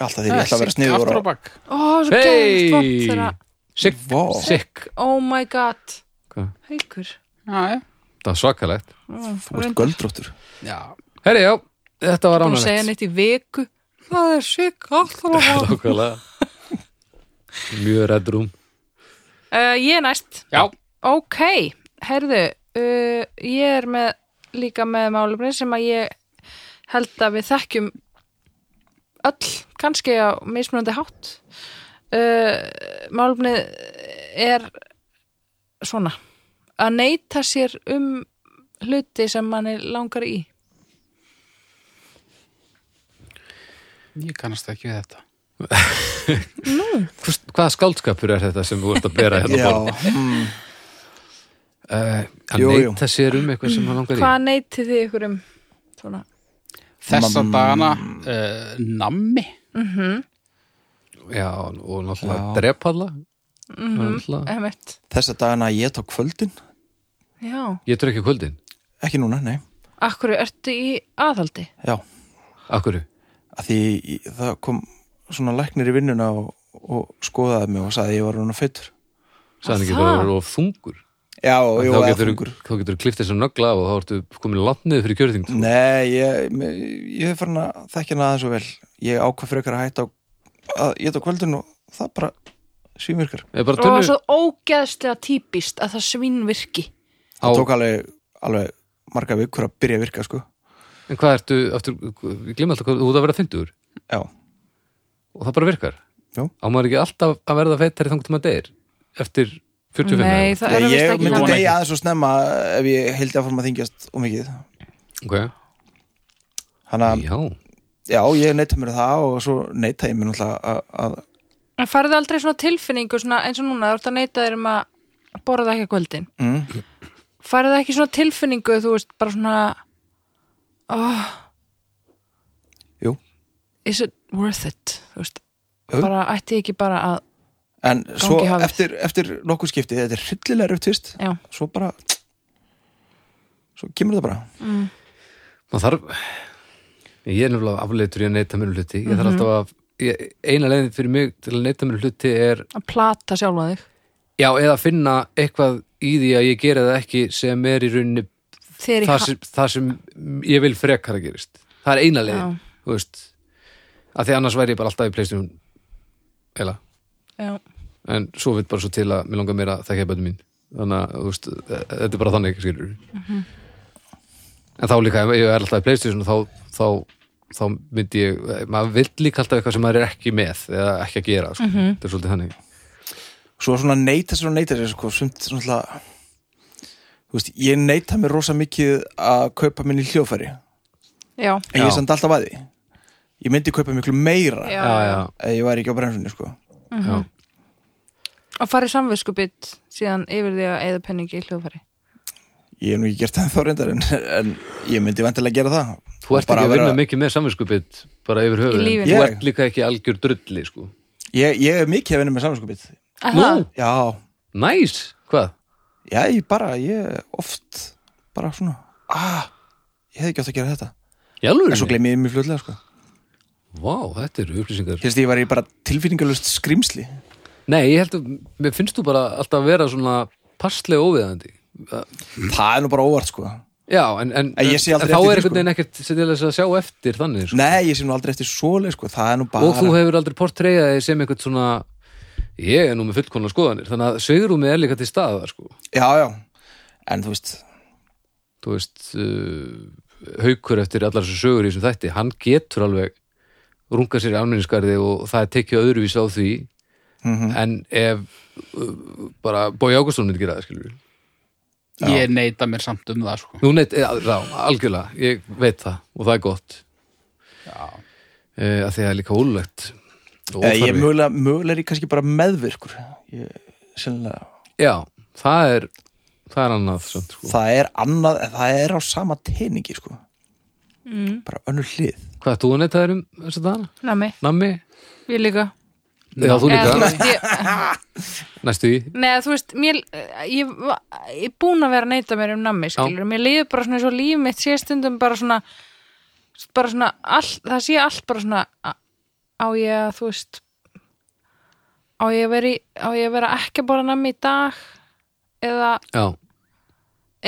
B: Alltaf því
D: Eh,
B: ég ætla að vera sniður
D: Aftur á
B: og
D: bak
C: ó, svo hey. gæðist vant
A: hey!
C: þeirra
A: sigg,
B: Vá.
A: sigg
C: oh my god,
A: Hvað?
C: heikur
D: Já, já.
A: það var svakalegt
B: Þú ert göldróttur
D: já
A: Herri, já, þetta var
C: Búin að segja
A: ánægilegt
C: neitt í viku það er sikk alltaf
A: <laughs>
C: að hafa
A: Nákvæmlega Mjög reddrúm
C: uh, Ég er næst
D: Já,
C: Ok, herðu, uh, ég er með líka með málefni sem að ég held að við þekkjum öll, kannski á mismunandi hátt. Uh, málefni er svona, að neyta sér um hluti sem mann er langar í.
D: ég kannast ekki við þetta
A: Hvers- Hvaða skáldskapur er þetta sem þú ert að bera
B: Já,
A: hérna á borð?
B: mm,
A: Uh, að
B: Jú, jú.
A: neyta sér um eitthvað sem hann langar í
C: Hvað neytið þið ykkur um? Svona.
D: Þessa
B: Mamm.
D: dagana uh, Nammi
A: Já, og náttúrulega drepalla
C: Mhm.
A: náttúrulega.
C: Emmett,
B: þessa dagana ég tók kvöldin
C: já.
A: Ég trú ekki á kvöldin
B: Ekki núna, nei,
C: Akkur ertu í aðhaldi?
B: já
A: Akkur,
B: að Því ég- það kom svona læknir í vinnuna og, og skoðaði mig og sagði að ég var hún að fyttur
A: sagði hann ekki
C: Það?
A: bara að vera of þungur
B: Já, og ég
A: Þá
B: var
A: getur,
B: þungur
A: þá getur klift þess að nögla af og þá ertu komin langt niður fyrir kjörþyngd
B: Nei, ég, me- ég hef farin að þekkja hana aðeins og vel Ég ákvað frekar að hætta á, að ég tók kvöldin og það bara svímirkar
A: Ég bara
C: Og það var
A: tunnu
C: svo ógeðslega típist að það svinnvirki.
A: á,
B: Það tók alveg, alveg marga vikur að byrja að virka sko
A: En hvað ertu, aftur, ég glemma alltaf hvað, þú ert að vera fyndur
B: Já,
A: og það bara virkar
B: Já.
A: á maður ekki alltaf að verða feitari þangt maður deyr eftir 45
C: Nei, það eru
B: ég,
C: vist
B: ég
C: ekki
D: vona
B: myndi
C: þannig.
B: degi aðeins og snemma ef ég hildi að fara að þingjast og mikið
A: okay.
B: Hanna,
A: já,
B: já, ég neyta mér það og svo neyta ég mér náttúrulega að, að
C: En farðu aldrei svona tilfinningu svona, eins og núna, þú ert að neyta þér um að borða ekki að kvöldin.
B: mm,
C: Farðu ekki svona tilfinningu, þú veist, bara svona oh,
B: Jú,
C: is it worth it? Þú veist,
B: Jú.
C: bara ætti ég ekki bara að
B: en svo
C: í hafið.
B: eftir, eftir nokkuð skipti, þetta er hryllilega upptvist
C: já,
B: svo bara svo kemur það bara
A: maður þarf ég er nefnilega afleitur í að neyta mér um hluti ég
C: Mhm.
A: þarf alltaf að, ég, eina leiðin fyrir mig til að neyta mér um hluti er
C: að plata sjálfa þig
A: já, eða finna eitthvað í því að ég gera það ekki sem er í rauninni
C: þegar
A: það
C: ég
A: sem, það sem ég vil frekar að gerist það er eina leiðin,
C: Já.
A: þú veist að því annars væri ég bara alltaf í pleysinu eila
C: já,
A: en svo veit bara svo til að mér langar meira að þekkja bönnum mín þannig að þú veist, e- e- þetta er bara þannig skilur
C: Mhm.
A: en þá líka, ef ég er alltaf í Playstation þá, þá, þá myndi ég e, maður vill líka alltaf eitthvað sem maður er ekki með eða ekki að gera, sko.
C: Mhm.
A: þetta er svolítið þannig
B: svo svona neyta sér og neyta sér sko, sumt svona alltaf þú veist, ég neyta mér rosa mikið að kaupa minni hljófæri en
C: já,
B: ég
A: Já.
B: er samt alltaf að því ég myndi kaupa miklu meira
C: já, Mhm.
A: já, já,
B: ef ég væri ekki á bremsunni sko
A: já.
C: og farið samviskubit síðan yfir því að eða penningi í hljóðfæri
B: ég hef nú ekki gert það þá reyndar en, en ég myndi vantilega gera það
A: þú ert
B: Bara
A: ekki að
B: vera-
A: vinna mikið með samvinskupið bara yfir höfuð,
C: lífinu.
A: en þú
B: Ég-
A: ert líka ekki algjör drulli, sko
B: ég, ég er mikið að vinna með samanskupið
A: Nú,
B: já,
A: næs, nice. hvað?
B: já, ég bara, ég oft bara svona, ah ég hefði ekki átt að gera þetta
A: Í alvöru?
B: en svo gleymi ég mér fljóðlega sko
A: Vá, þetta eru upplýsingar
B: hérst ég væri bara tilfinningalust skrimsli
A: Nei, ég held að, mér finnst þú bara alltaf að vera svona passlega óviðandi
B: það er nú bara óvart sko
A: Já, en, en,
B: En ég sé aldrei eftir því,
A: þá er einhvern
B: sko.
A: veginn ekkert sem til þess að sjá eftir þannig sko.
B: Nei, ég sé nú aldrei eftir svoleið sko, það er nú bara
A: Og þú hefur aldrei portreyjaði sem einhvern svona Ég er nú með fullkona skoðanir Þannig að sveigurúmið er líka til staða sko.
B: Já, já, en þú veist
A: Þú veist, uh, haukur eftir allar þessu sögur í þessum þætti Hann getur alveg runga sér í almennisgarði og það er tekið öðruvís á því
B: Mhm.
A: En ef uh, bara Bói Águstón myndi gera það skilur við
D: Ég neyta mér samt um það sko.
A: Nú neitt, já, já, algjörlega, ég veit það og það er gott e, að því það er líka ólulegt og
B: eh, Ég er
A: óþarfi.
B: mögulega, mögulega er ég kannski bara meðvirkur ég, sennilega,
A: Já, það er það er annað samt, sko.
B: Það er annað, en það er á sama teiningi sko mm. Bara önnur hlið
A: Hvað ert þú að neita þér um þessu dana?
C: nami,
A: Nammi?
C: ég líka
A: Já, þú
C: Eða, þú
A: líka,
C: veist, ég,
A: næstu í
C: Nei, þú veist, mér, eh, ég, va- ég er búin að vera að neyta mér um nammi, skilur, mér líður bara svona eins og líf mitt sé stundum bara svona, bara svona, all, það sé allt bara svona, a- á ég að, þú veist, á ég að vera, í, á ég að vera ekki að bora nammi í dag, eða
A: Já,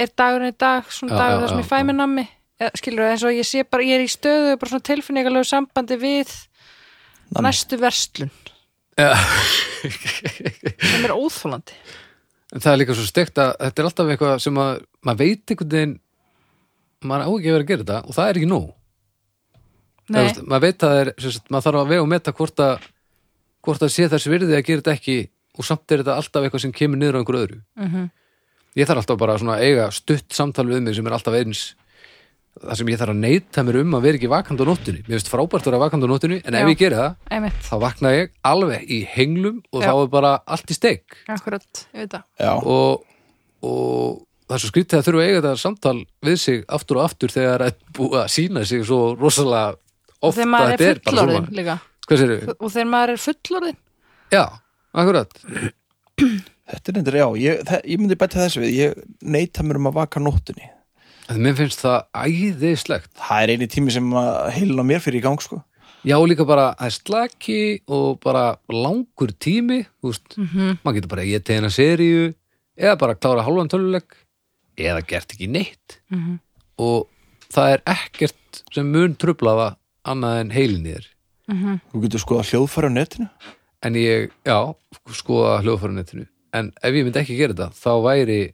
C: er dagurinn í dag,
A: Já,
C: svona
A: já,
C: dagur þar sem
A: já,
C: ég fæ
A: já.
C: mér nammi, eða, skilur, eins og ég sé bara, ég er í stöðu, bara svona tilfinningalegu sambandi við
B: Nammi.
C: næstu verslun,
A: Já.
C: sem er óþólandi.
A: en það er líka svo stekt að þetta er alltaf eitthvað sem að maður veit einhvern veginn maður á ekki að vera að gera þetta og það er ekki nóg Nei.
C: Nei,
A: Veist, maður veit að það er, sem sagt, maður þarf að vega og meta hvort að, hvort að sé þess virði að gera þetta ekki og samt er þetta alltaf eitthvað sem kemur niður á einhver öðru
C: Mhm.
A: ég þarf alltaf bara svona að eiga stutt samtal við mig sem er alltaf eins það sem ég þarf að neyta mér um að vera ekki vakandi á nóttunni mér finnst frábært að vera vakandi á nóttunni en ef
C: Já.
A: ég gera það,
C: einmitt,
A: þá vakna ég alveg í henglum og
C: Já.
A: þá er bara allt í steik
C: akkurat, ég veit það.
B: Já,
A: og, og það er svo skrítið að þurfa að eiga þetta samtal við sig aftur og aftur þegar að búið að sína sig svo rosalega
C: og
A: oft
C: þegar
A: að
C: maður
A: þetta er
C: er
A: bara
C: fullorðin
A: svona
C: líka
A: hvað sér við?
C: og þegar maður er fullorðin
A: Já, akkurat
B: þetta er neyndar, já ég, það, ég myndi bæta þessu við, ég neita mér um að vaka nóttunni
A: En Mér finnst það æðislegt
B: Það er eini tími sem heilin á mér fyrir í gang sko
A: Já, og líka bara að slaki og bara langur tími þú veist,
C: Mhm.
A: maður getur bara að geta eina seríu eða bara að klára hálfan töluleg eða gert ekki neitt
C: Mhm.
A: og það er ekkert sem mun trublaða annað en heilin í þér
B: Þú getur skoða hljóðfæri á netinu
A: en ég, já, skoða hljóðfæranettinu en ef ég myndi ekki gera þetta þá væri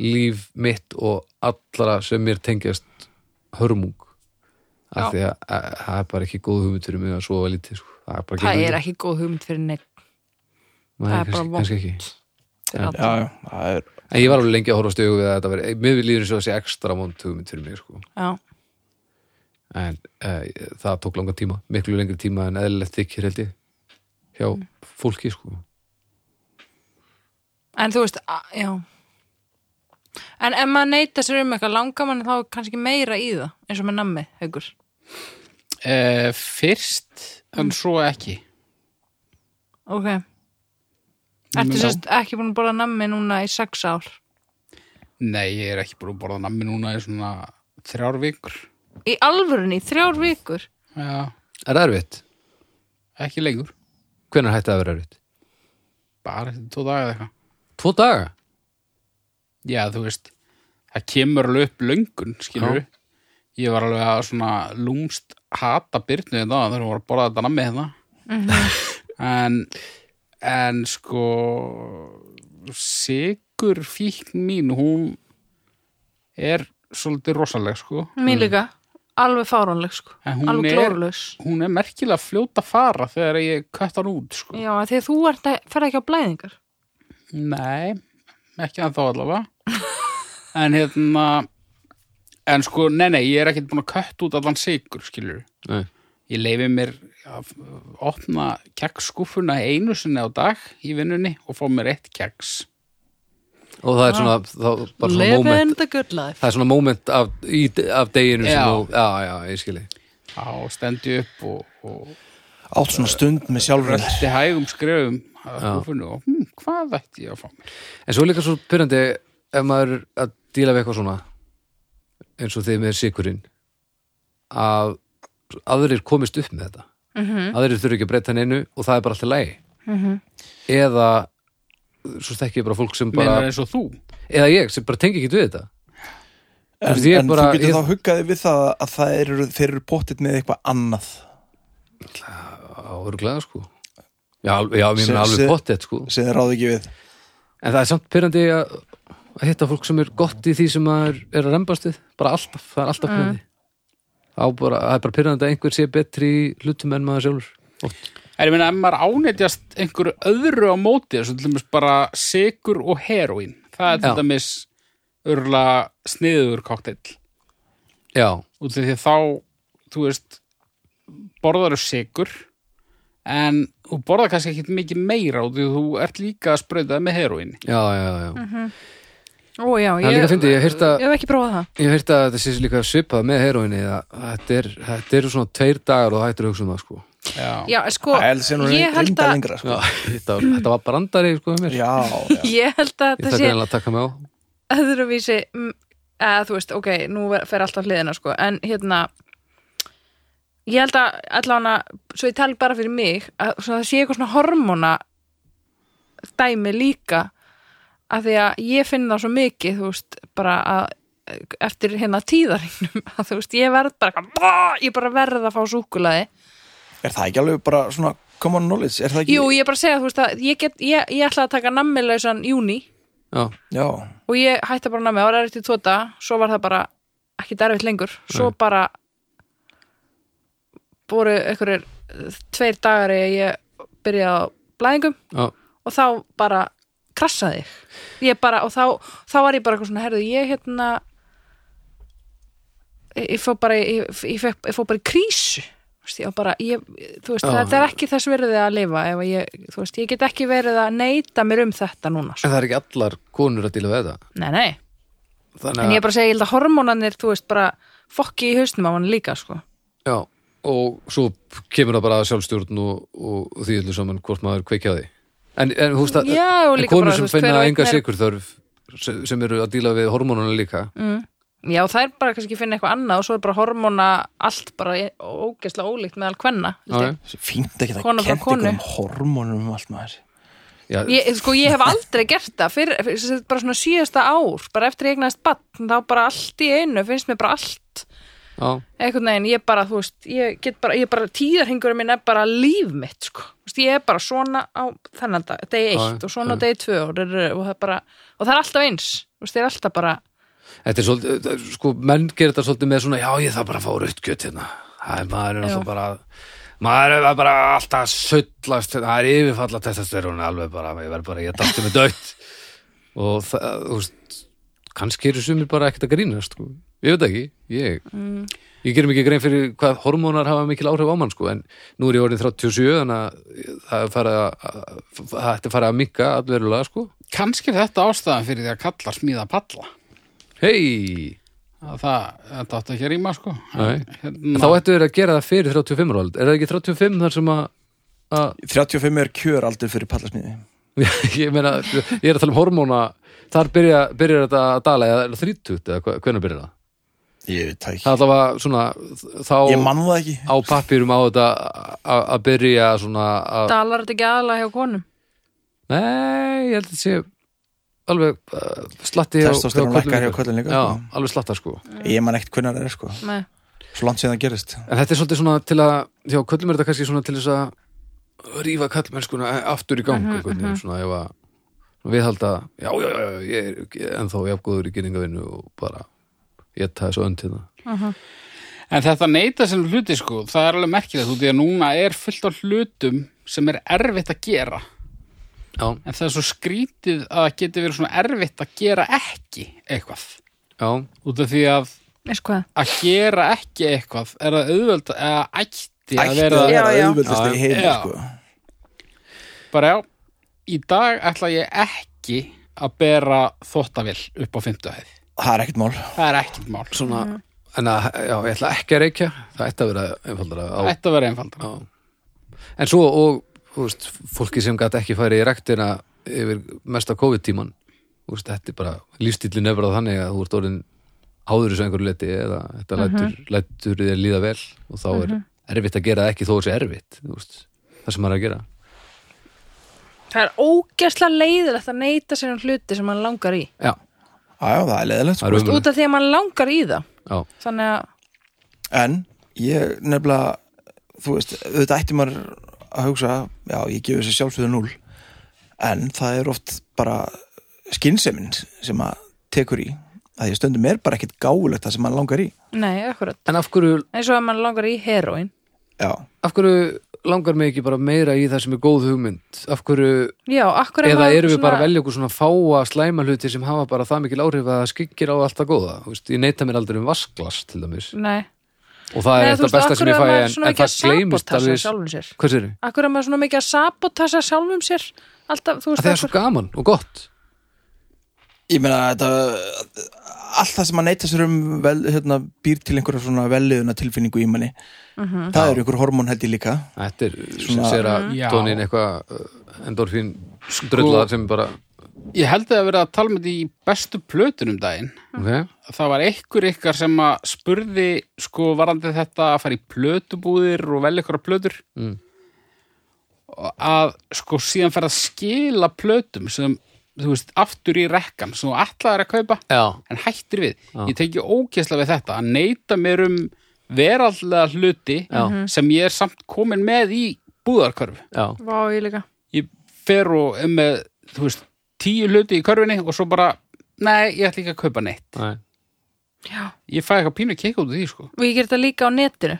A: líf mitt og allra sem mér tengjast hörmung af
C: Já.
A: því að að- það er bara ekki góð hugmynd fyrir mig að sofa lítið sko. það er bara ekki
C: það er ekki góð hugmynd fyrir neitt
A: Nei,
C: það er
A: kannski,
C: bara
A: kannski ekki
C: fyrir alla.
B: Já, já, það er
A: en ég var alveg lengi að horfa stögu við að þetta veri mér líður eins og þessi ekstra vond hugmynd fyrir mig sko.
C: Já.
A: en uh, það tók langa tíma miklu lengri tíma en eðlilegt þykir held ég hjá
C: Mm.
A: fólki sko.
C: en þú veist a- já. en ef maður neyta sér um eitthvað langa mann þá kannski meira í það eins og með nammi haugur
D: e, Fyrst en svo ekki
C: ok Ertu
D: Já.
C: sérst ekki búin að borða nammi núna í sex ár?
D: Nei, ég er ekki búin að borða nammi núna í svona þrjár vikur
C: Í alvörunni, í þrjár vikur?
D: Já,
A: er það erfitt?
D: ekki lengur
A: hvenær hætti það að vera erfitt?
D: Bara eftir tvo daga eða eitthvað
A: tvo daga?
D: Já, þú veist, það kemur alveg upp löngun, skilur við Ég var alveg að svona hérna lúmst hata byrnu þetta þegar hún var að borða þetta nammi þetta hérna. <laughs> En en sko sigur fíkn mín hún er svolítið rosaleg sko
C: Mín líka, Mm. alveg fáránleg sko
D: En hún
C: Alveg
D: er-
C: glórulaus
D: hún er merkilega fljóta að fara þegar ég kött hann út sko
C: Já, af því að þú ert að ferð ekki á blæðingar
D: nei, ekki að þá allavega en hérna en sko, nei nei, ég er ekkert búin að kött út allan sigur skilur
A: Nei.
D: ég leifi mér að opna kekskúfuna einu sinni á dag í vinnunni og fá mér eitt keks
A: og það er svona, þá, bara svona
C: Live
A: moment
C: in the good life
A: það er svona moment af, í, af deginu
D: Já.
A: sem þú, já, já, ég skilji
D: á stendi upp og, og
B: átt svona stund með sjálfur
D: rölti hægum skrefum að húfinu og hm, hvað ætti ég að fá mér?
A: en svo er líka svo pyrrandi ef maður er að díla við eitthvað svona eins og þegar með sigurinn að aðrir komist upp með þetta -hmm. aðrir þurfi ekki að breyta neinu og það er bara alltaf lægi mm -hmm. eða svo þekki ég bara fólk sem bara
D: Meinar eins og þú?
A: eða ég sem bara tengi ekki við þetta
B: en,
A: Þú veist, ég
B: en
A: bara-
B: þú getur
A: ég-
B: þá huggaði við það að það eru, þeir eru pottit með eitthvað annað
A: áhuglega sko já, al- já mér
B: Sem-
A: er alveg
B: sem-
A: pottið sko
B: sem þeir ráði ekki við
A: en það er samt pyrrandi að að hitta fólk sem er gott í því sem maður er að rembast við bara alltaf, það er
C: Mm.
A: alltaf pyrrandi Á bara, það er bara pyrrandi að einhver sé betri í hlutum en maður sjálfur Oft.
D: Er ég meina að maður ánetjast einhverju öðru á móti þessu til dæmis bara sigur og heroín það er til
A: Já.
D: dæmis örla sniður kokteill
A: já,
D: út af því að þá, þú veist borðar er sigur en þú borðar kannski ekkit mikið meira út af því að þú ert líka að sprauta með heroín
A: já, já, já
C: Mhm. Ó já,
A: Það er líka fyndið, ég hef heyrt að-
C: ég hef ekki prófað það
A: ég heyrta að þetta sé líka svipað með heroinni að þetta, er, þetta eru svona tveir dagar og það hættir að hugsa um það sko
D: Já.
C: Já, sko,
B: Æ, það sé nú
C: ég held
B: reynda
C: að
B: lengra, sko.
A: já, þetta, var- þetta var brandari sko hjá mér.
B: já, já.
C: Ég held að
A: ég
C: það
A: þakka
C: sé
A: reynilega að taka mig á
C: öðruvísi mm, eða þú veist, ok, nú ver- fer allt á hliðina sko, en hérna ég held að allan að svo ég tali bara fyrir mig að svona það sé eitthvað svona hormóna dæmi líka af því að ég finn það svo mikið þú veist, bara að eftir hérna tíðaringnum <laughs> að þú veist, ég verð bara eitthvað, ég bara verð að fá súkulaði
B: er það ekki alveg bara svona common knowledge, er það ekki
C: Jú, ég bara segja, þú veist að ég, get, ég, ég ætla að taka nammilausan júni
A: já,
B: já,
C: og ég hætti bara að ná mig, það var erfitt í tvo daga svo var það bara ekki derfitt lengur svo bara voru einhverjir tveir dagar eða ég byrjaði á blæðingum
A: já,
C: og þá bara krassaði ég. ég bara, og þá, þá var ég bara eitthvað svona, herðu, ég hérna ég, ég fór bara ég, ég, ég, fekk- ég fór bara í krísu Þú veist, ég var bara, ég, þú veist,
A: Já.
C: þetta er ekki þess verðið að lifa ef að ég, þú veist, ég get ekki verið að neyta mér um þetta núna
A: en
C: sko.
A: það er ekki allar konur að díla við þetta
C: nei, nei
A: þannig
C: En
A: að
C: ég bara segi, ég held að hormónanir, þú veist, bara fokki í hausnum á hann líka, sko.
A: Já, og svo kemur það bara að sjálfstjórn og, og því öllu saman hvort maður kveikja á því En, en húst að
C: Já, og
A: en
C: líka
A: konur
C: bara,
A: sem
C: þú veist, hver
A: finna
C: og einn
A: enga
C: er-
A: sikur þörf sem sem eru að díla við hormónuna líka
C: Mm. Já, það er bara kannski að finna eitthvað annað og svo er bara hormóna allt bara í- ógeðslega ólíkt með all kvenna. held
A: Já,
C: ég.
B: fínt ekki
C: Kona
B: það
C: frá
B: kent ykkur
C: konu.
B: um hormónum um allt maður
A: já, já,
C: Ég, sko, ég hef aldrei gert það fyrir, fyrir sem sagt bara svona síðasta ár, bara eftir ég eignaðist batn, þá bara allt í einu, finnst mér bara allt,
A: já,
C: einhvern veginn, ég bara, þú veist, ég get bara, ég bara, tíðarhingurinn minn er bara líf mitt, sko, þú veist, ég er bara svona á þennan dag, degi
A: Já,
C: eitt og svona á
A: já.
C: degi tvö og, og það er bara, og það er alltaf eins, þú veist, ég er alltaf bara,
A: Þetta er svolítið, það er- sko, menn gerir þetta svolítið með svona, já, ég þarf bara að fá rautkjöt hérna Það er maður er alltaf bara maður er bara alltaf að sullast það er yfirfalla testastörun alveg bara, ég verð bara, ég dætti með dött um og það, þú veist kannski eru sumir bara ekkert að grínast sko. ég veit ekki, ég ég gerum ekki grein fyrir hvað hormónar hafa mikil áhrif á mann sko, en nú er ég orðin 37 þannig að það er farið að- að það ætti farið að mikka allverulega sko.
D: Kannski er þetta ástæðan fyrir því að kallar smíða palla
A: hei,
D: að það, þetta átti ekki að rýma sko
A: Nei.
D: hérna,
A: þá ættu verið að gera það fyrir 35 ára aldrei, er það ekki 35 þar sem að, að <laughs>
B: 35 er kjör aldrei fyrir pallasmiði
A: ég meina, ég er að tala um hormóna þar byrja, byrjar þetta að dala eða 30 eða hva- hvenær byrjar það
B: ég veit það ekki,
A: það er allavega svona þá
B: ég mann það ekki
A: á pappýrum á þetta a- að byrja svona að,
C: dalar þetta ekki aðalega hjá konum.
A: nei, ég held að þetta sé alveg uh, slatti hjá-
B: Testosterón
A: körlum
B: lækkar hjá
A: líka.
B: körlum líka,
A: já,
B: sko.
A: alveg slatta sko
C: Mm.
B: ég mann ekkert hvernig það er sko
C: Nei.
B: svo langt sem það gerist
A: en þetta er svolítið svona til að, já, köllum er þetta kannski svona til þess að rífa kallmennskuna aftur í gang einhvern veginn, svona ef að viðhalda, já, já, já, já, ég er ennþá jafngóður í gynningavinnu og bara ég taði svo önd hérna
D: En þetta neyta sem hluti sko, það er alveg merkilegt út í að núna er fullt af hlutum sem er erfitt að gera.
A: Já,
D: En það er svo skrítið að það geti verið svona erfitt að gera ekki eitthvað.
A: já,
D: Út af því að
C: veist hvað
D: að gera ekki eitthvað er að auðvöld eða ætti að
B: Ætti
D: vera
B: að vera
C: Já, já.
B: auðvöldast í heimi
D: Já.
B: sko.
D: bara já, í dag ætla ég ekki að bera þóttavill upp á fimmtuðið.
B: Það er ekkert mál
D: Það er ekkert mál.
A: svona en að, já, ég ætla ekki að reykja það ætti að vera einfaldara á,
D: Það ætti að vera einfaldar.
A: á. en svo og, þú veist, fólki sem gæti ekki farið í rektina yfir mesta COVID-tíman þú veist, þetta er bara lífstillin efrað þannig að þú ert orðin háður þessu einhverju leti eða þetta lætur, lætur þér líða vel og þá er erfitt að gera það ekki þó þessi erfitt þú veist, það sem maður er að gera
C: Það er ógæslega leiðilegt að neyta sér um hluti sem mann langar í
A: já,
B: Já, það er leðilegt
A: það er
B: sko.
A: umur
C: út af því að mann langar í það
A: já,
C: þannig að
B: En ég nefnilega Þú veist, auðvitað ætti maður að hugsa Já, ég gefi þessi sjálfsögðu núl En það er oft bara Skinsemin sem að tekur í Það ég stundum er bara ekkert gáulegt Það sem maður langar í
C: nei, akkurat
A: en af hverju,
C: eins og að mann langar í heroin
B: Já,
A: af hverju langar mig ekki bara meira í það sem er góð hugmynd af hverju
C: já, akkurat
A: eða erum við bara að velja okkur svona fáa slæma hluti sem hafa bara það mikil áhrif að það skyggir á allt það góða Þú veist, ég neyta mér aldrei um vasklas til dæmis
C: nei,
A: og það er
C: Nei, þú
A: eitthvað
C: veist,
A: besta
C: af
A: sem ég
C: hverju
A: fæ
C: er
A: en, en
C: maður svona
A: það
C: mikið að
A: gleymist
C: sabotasa
A: alveg
C: sjálfum sér?
A: hvað sér þið?
C: akkur er maður svona mikið að sabotasa sjálfum sér alltaf, þú veist
A: Það er svo gaman og gott
B: ég meina þetta Allt það sem að neyta sér um vel, hérna, býr til einhverja svona velliðuna tilfinningu í manni
C: Mhm.
B: Það eru einhver hormón held ég líka
A: Þetta er
B: Svona-
A: sér að
D: Mhm.
A: tónin
D: Já.
A: eitthvað uh, endorfín drullar sem bara
D: Ég held að það verið að tala með því bestu plötunum um daginn.
C: Mhm.
A: ok,
D: það var einhver ykkar sem að spurði sko varandi þetta að fara í plötubúðir og velja ykkur að plötur
A: Mm.
D: Og að sko síðan fara að skila plötum sem þú veist aftur í rekkan sem þú ætlaðir að kaupa
A: já,
D: en hættir við, ég teki ókesslega við þetta að neyta mér um veraldlega hluti
A: Já.
D: sem ég er samt komin með í búðarkörfu
A: já,
C: vá, ég líka
D: ég fer og er með þú veist, tíu hluti í körfinni og svo bara, nei, ég ætla ekki að kaupa neitt
A: næ,
C: já,
D: Ég fæ eitthvað pínu kikk út af því, sko.
C: og ég ger þetta líka á netinu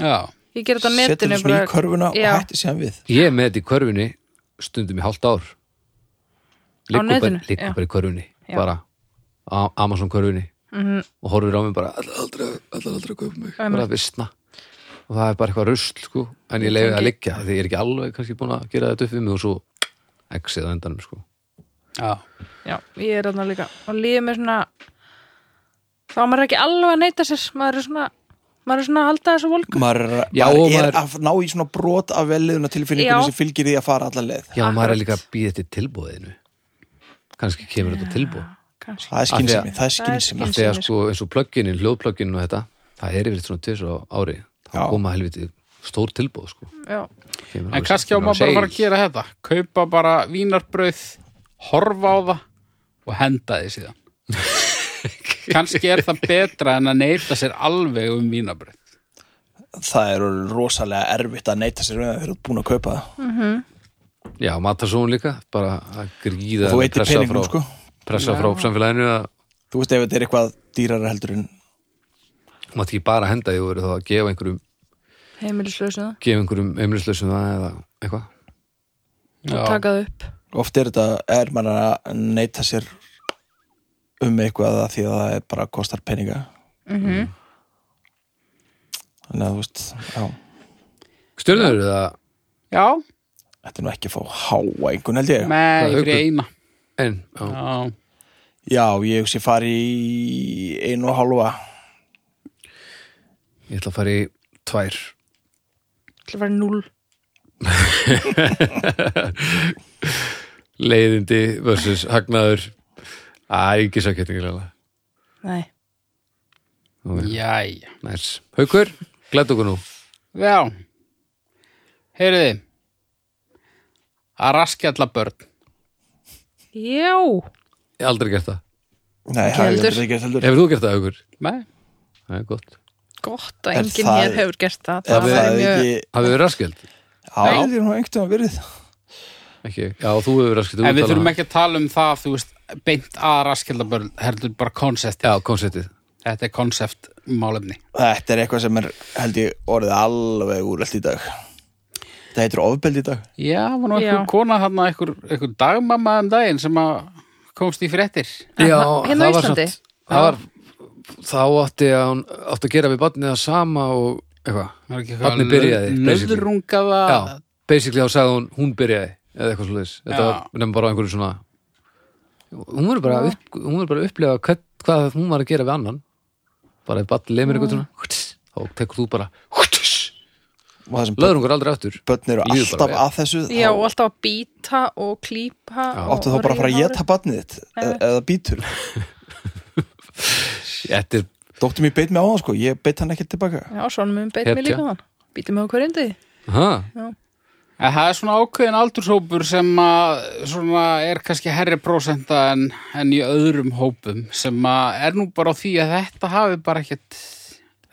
D: Já.
C: ég ger þetta á
B: Setur
C: netinu
B: þessu í körfuna
C: já,
B: og hætti sér við
A: ég er með þetta í körfunni stundum í hálft ár liggur bara,
C: netinu,
A: liggur
C: já.
A: bara í körfunni
C: Já. Mhm.
A: bara á- Amazon körfunni og horfir á mig bara allar aldrei, allar aldrei að kaupa mig bara að vissna og það er bara eitthvað rusl sko en ég leiði að liggja því ég er ekki alveg kannski búin að gera þetta upp við mig og svo exið á endanum sko
D: Já.
C: já, ég er þarna líka og lífið með svona þá er maður ekki alveg að neyta sér maður er svona, maður er svona að halda þessu volku
B: maður,
A: Já,
B: maður
A: og
B: er
A: maður-
B: að ná í svona brot af velliðuna
C: Já.
B: tilfinningunni sem fylgir því að fara allar leið
A: já maður er
C: Akkurat.
A: líka að býða þetta tilbúðinu kannski kemur þetta tilbúð
C: kannski
B: það er skynsemi,
A: Af því að-
B: það er
C: Það er
B: skynsemi
C: skynsemi.
A: þegar sko eins og plögginin, hljóðplögginin og þetta það er yfir svona tvisar á ári
B: Já.
A: þá koma helviti stór tilbúð sko
C: já,
A: Kemur
D: En
A: alveg-
D: kannski á
A: kemur
D: maður bara
A: alveg
D: að fara að gera þetta. Kaupa bara vínarbrauð, horfa á það og henda því <laughs> síðan. kannski er það betra en að neyta sér alveg um vínarbrauð.
B: það er orðið rosalega erfitt að neyta sér um það þegar þú ert búin að kaupa það
C: Mm.
A: Já, Matasón líka, bara að gríða
B: þú veitir
A: pressa
B: peningum
A: frá,
B: sko
A: pressa frá samfélaginu að
B: þú veist ef þetta er eitthvað dýrar heldur en
A: þú mátt ekki bara henda því og verið þá að gefa einhverjum
C: heimilislausu það
A: gefa einhverjum heimilislausum það eða eitthvað
D: Já.
C: og taka það upp
B: oft er þetta er maður að neyta sér um eitthvað að því að það er bara kostar peninga
C: Mhm.
B: Mm. þannig að þú veist já,
A: Stjörnur eða
D: Já,
B: þetta er nú ekki að fá háa einhvern held ég
D: með
A: Það er
D: fyrir eina.
A: en, já,
D: Já.
B: já, ég hugsi fari í einu og halva
A: ég ætla að fara í tvær
C: til að vera núl
A: leiðindi versus hagnaður að ekki sækjötingilega
C: nei,
D: Jæja.
A: Næs, haukur, glætt okkur nú
D: Já. Heyriði. Að raskja alla börn.
C: já
A: ég hef aldrei gert það,
B: nei, það er
C: heldur.
B: þetta ekki heldur
A: hefur þú gert það haukur?
D: Nei.
A: Það er gott
C: gott að
B: Er
C: enginn
B: það-
C: hér hefur gert það
B: það
C: væri
B: er
C: mjög-
B: ekki
A: Hafið þið raskjöld?
B: Hafið þér nú einhvern veginn verið
A: Ekki, já, þú hefur raskat
D: En við þurfum ekki að tala um það, þú veist, beint að raskildabörn, heldur bara konsepti.
A: Já, konceptið
D: Þetta er konsept málefni.
B: Þetta er eitthvað sem er held ég orðið alveg úrelt í dag Það heitir ofbeld í dag
D: Já, var nú
C: Já.
D: einhver kona þarna, einhver, einhver dagmamma um daginn sem að komst í fréttir.
A: Já,
C: hérna á
A: það var
C: Íslandi?
A: samt- það var, Þá átti að hún átti að gera við barnið það sama og eitthvað
D: Var ekki
A: Barnið
D: eitthvað
A: byrjaði, basically.
D: Nöðrungaða.
A: Já, basically þá sagði hún hún byrjaði eða eitthvað svo Þetta
D: Já.
A: var nefnum bara einhverju svona Hún verður bara, upp, hún verður bara að upplega hvað, hvað hún var að gera við annan bara ef barnið lemur eitthvað svona þá tekur þú bara
B: og það sem
A: löður hún aldrei aftur
B: börn eru
A: Líður bara
B: alltaf
A: vel.
B: að þessu
C: Já, og
B: þá
C: alltaf að býta og klípa
A: Já.
C: og
B: áttu þá bara að fara að
C: rífa
B: geta barnið þitt eða, eða býtur
A: Þetta er
B: Dóttir mér beit mig á það sko, ég beit hann ekki tilbaka
C: hárið. Já, svona mun beit mig
A: Hetja.
C: líka þann Býtum mig á hverjum degi
A: ha,
D: En það er svona ákveðin aldurshópur sem að svona er kannski herri prósenta en, en í öðrum hópum sem að er nú bara á því að þetta hafi bara ekkert,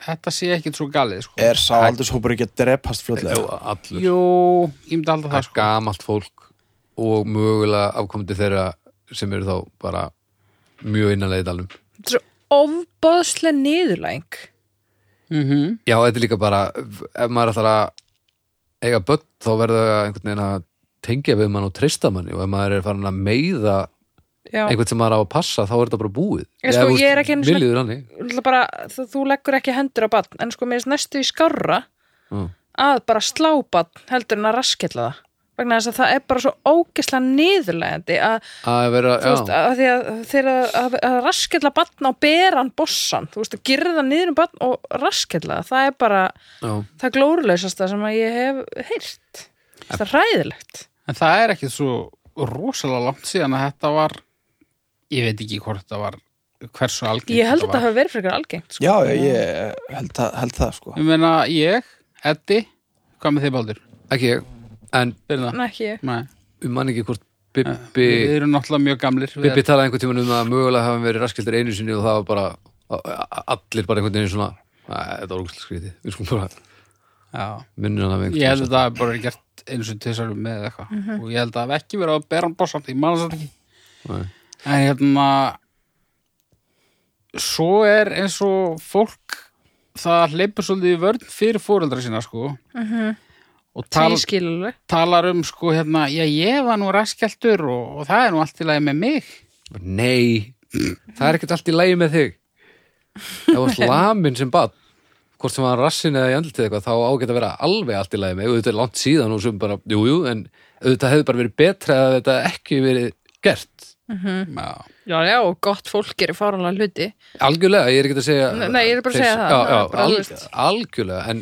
D: þetta sé ekkert svo galið sko.
B: Er sá aldurshópur ekki að drepast fljóðlega?
A: allur
D: Jú, ég myndi alltaf það sko.
A: gamalt fólk og mögulega afkomandi þeirra sem eru þá bara mjög innanlega í dalnum
C: Þetta er svo ofbóðslega niðurlæng
D: Mm
A: Já, þetta er líka bara ef maður ætlar að eiga börn þá verður það einhvern veginn að tengja við mann og treysta manni og ef maður er farin að meiða
C: Já,
A: einhvern sem maður á að passa þá er þetta bara búið
C: Ég sko, ég er ekki einu sinni-
A: Milliður hannig
C: Náttúrulega bara, þú, þú leggur ekki hendur á batn en sko mér er næstu í skarra
A: Mm.
C: að bara slá batn heldur en að raskilla það vegna þess að það er bara svo ógislega niðurlegandi að,
A: að vera,
C: þú veist,
A: já,
C: að því að þeir að, að, að raskilla batn á beran bossan, þú veist, að gyrða niður um batn og raskilla, það. það er bara
A: já,
C: það glóruleysasta sem að ég hef heyrt, það er hræðilegt
D: En það er ekkert svo rosalega langt síðan að þetta var, ég veit ekki hvort þetta var, hversu algengt
C: ég held að
D: þetta
C: það
D: var.
C: hafi verið frekar algengt sko.
B: Já, já, ég held, það- held það sko
D: Ég meina, ég, Eddi, hvað með þið baldur?
A: ekki ég en
D: Byrna?
C: en ekki, ég.
D: Nei.
A: um mann ekki hvort Bibbi
D: Eh, Við erum náttúrulega mjög gamlir. Við
A: Bibbi talaði einhvern tímann um að mögulega hafa verið raskildur einu sinni og það var bara a- a- allir bara einhvern veginn svona "Æ, þetta var úrgæslega skrítið, við skulum bara
D: Já.
A: minnir hann af einhvern
D: Ég held að það hef bara verið gert eins og tvisar með eða eitthvað og ég held að það hef ekki verið að bera hann bossamt ég manna þetta ekki
A: Nei.
D: en hérna svo er eins og fólk það hleypur svolítið í vörn fyrir fóreldra sína sko og tal,
C: ég skil alveg
D: talar um sko hérna, já ég var nú raskjaldur og, og það er nú allt í lagi með mig
A: Nei, það er ekkert allt í lægi með þig Það
C: <laughs>
A: var slamin sem bad Hvort sem var rassin eða í andlitið eitthvað þá ágætt að vera alveg allt í lægi með auðvitað er langt síðan og sem bara, jú, jú en auðvitað hefði bara verið betra að þetta ekki verið gert
D: Já.
C: já, já, og gott fólk gerir fáranlega hluti
A: Algjörlega, ég er ekki að segja
C: Nei, nei, ég er bara að segja
A: Já,
C: það. Það er bara, þú
A: já,
C: veist.
A: al, algjörlega en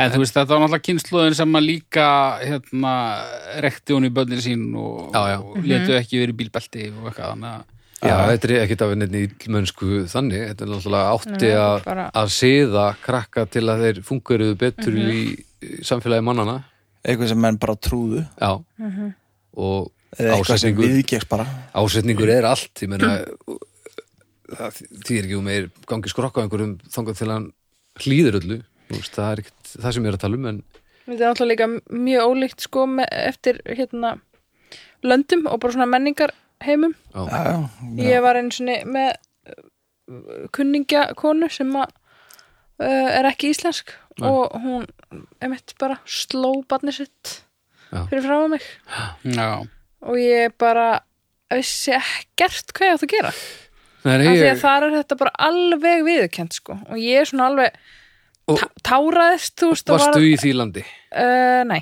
D: en þú veist þetta var náttúrulega kynsluðin sem að líka hérna rekti hún í börnin sín og,
A: Já, já.
D: og letu ekki verið í bílbelti og eitthvað þannig að
A: já, þetta er ekkert að vera neitt ílmönsku þannig þetta er náttúrulega átti
C: Nei,
A: að,
C: bara- Mhm.
A: að siða krakka til að þeir fungeruðu betur í, í samfélagi mannana
B: Eitthvað sem menn bara trúðu
A: Já
C: Mhm.
A: og
B: Eða eitthvað sem Mm.
A: ásetningur,
B: viðgekst bara
A: ásetningur er allt ég meina það þýðir ekki um meir gangi skrokka á einhverjum þangað til hann hlýður öllu Þú veist, það er ekkert það sem ég er að tala um en
C: þetta er náttúrulega líka mjög ólíkt sko me- eftir hérna löndum og bara svona menningar heimum
B: Já, já, já.
C: Ég var eins og með uh, kunningjakonu sem að, uh, er ekki íslensk
A: Nei.
C: og hún emitt bara sló barni sitt
A: Já.
C: fyrir frá mig
D: Já,
C: og ég bara vissi ekkert hvað ég átt að gera
A: Nei, nei,
C: af því
A: ég,
C: að þar er þetta bara alveg viðurkend sko og ég er svona alveg
A: Og-
C: tá- táraðist þú veist og
A: varstu
C: var,
A: í því landi
C: uh, nei,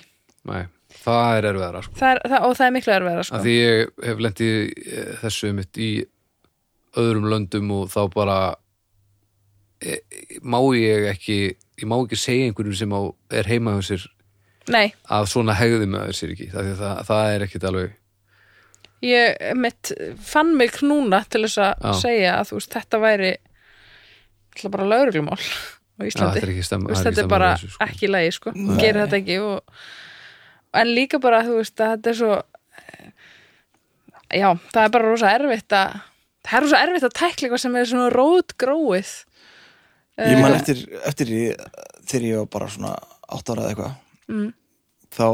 A: nei, það er erfiðara sko.
C: það er, það, og það er miklu erfiðara sko
A: að því ég hef lendið eh, þessu mitt í öðrum löndum og þá bara e, e- má ég ekki ég má ekki segja einhverjum sem á, er heima hjá sér
C: nei,
A: að svona hegði maður sér ekki það, það, það er ekkit alveg
C: ég mitt fann mig knúna til þess að
A: Já.
C: segja að þú veist þetta væri ætla bara lauruglumál á
A: Já, þetta
C: Íslandi
A: er ekki
C: Þú
A: stemma
C: veist, þetta er bara ekki lægi sko gera þetta ekki og, en líka bara þú veist að þetta er svo já, það er bara rosa erfitt að það er rosa erfitt að tækla eitthvað sem er svona rótgróið
B: Ég man eftir, eftir ég, þegar ég var bara svona átt ára eða eitthvað þá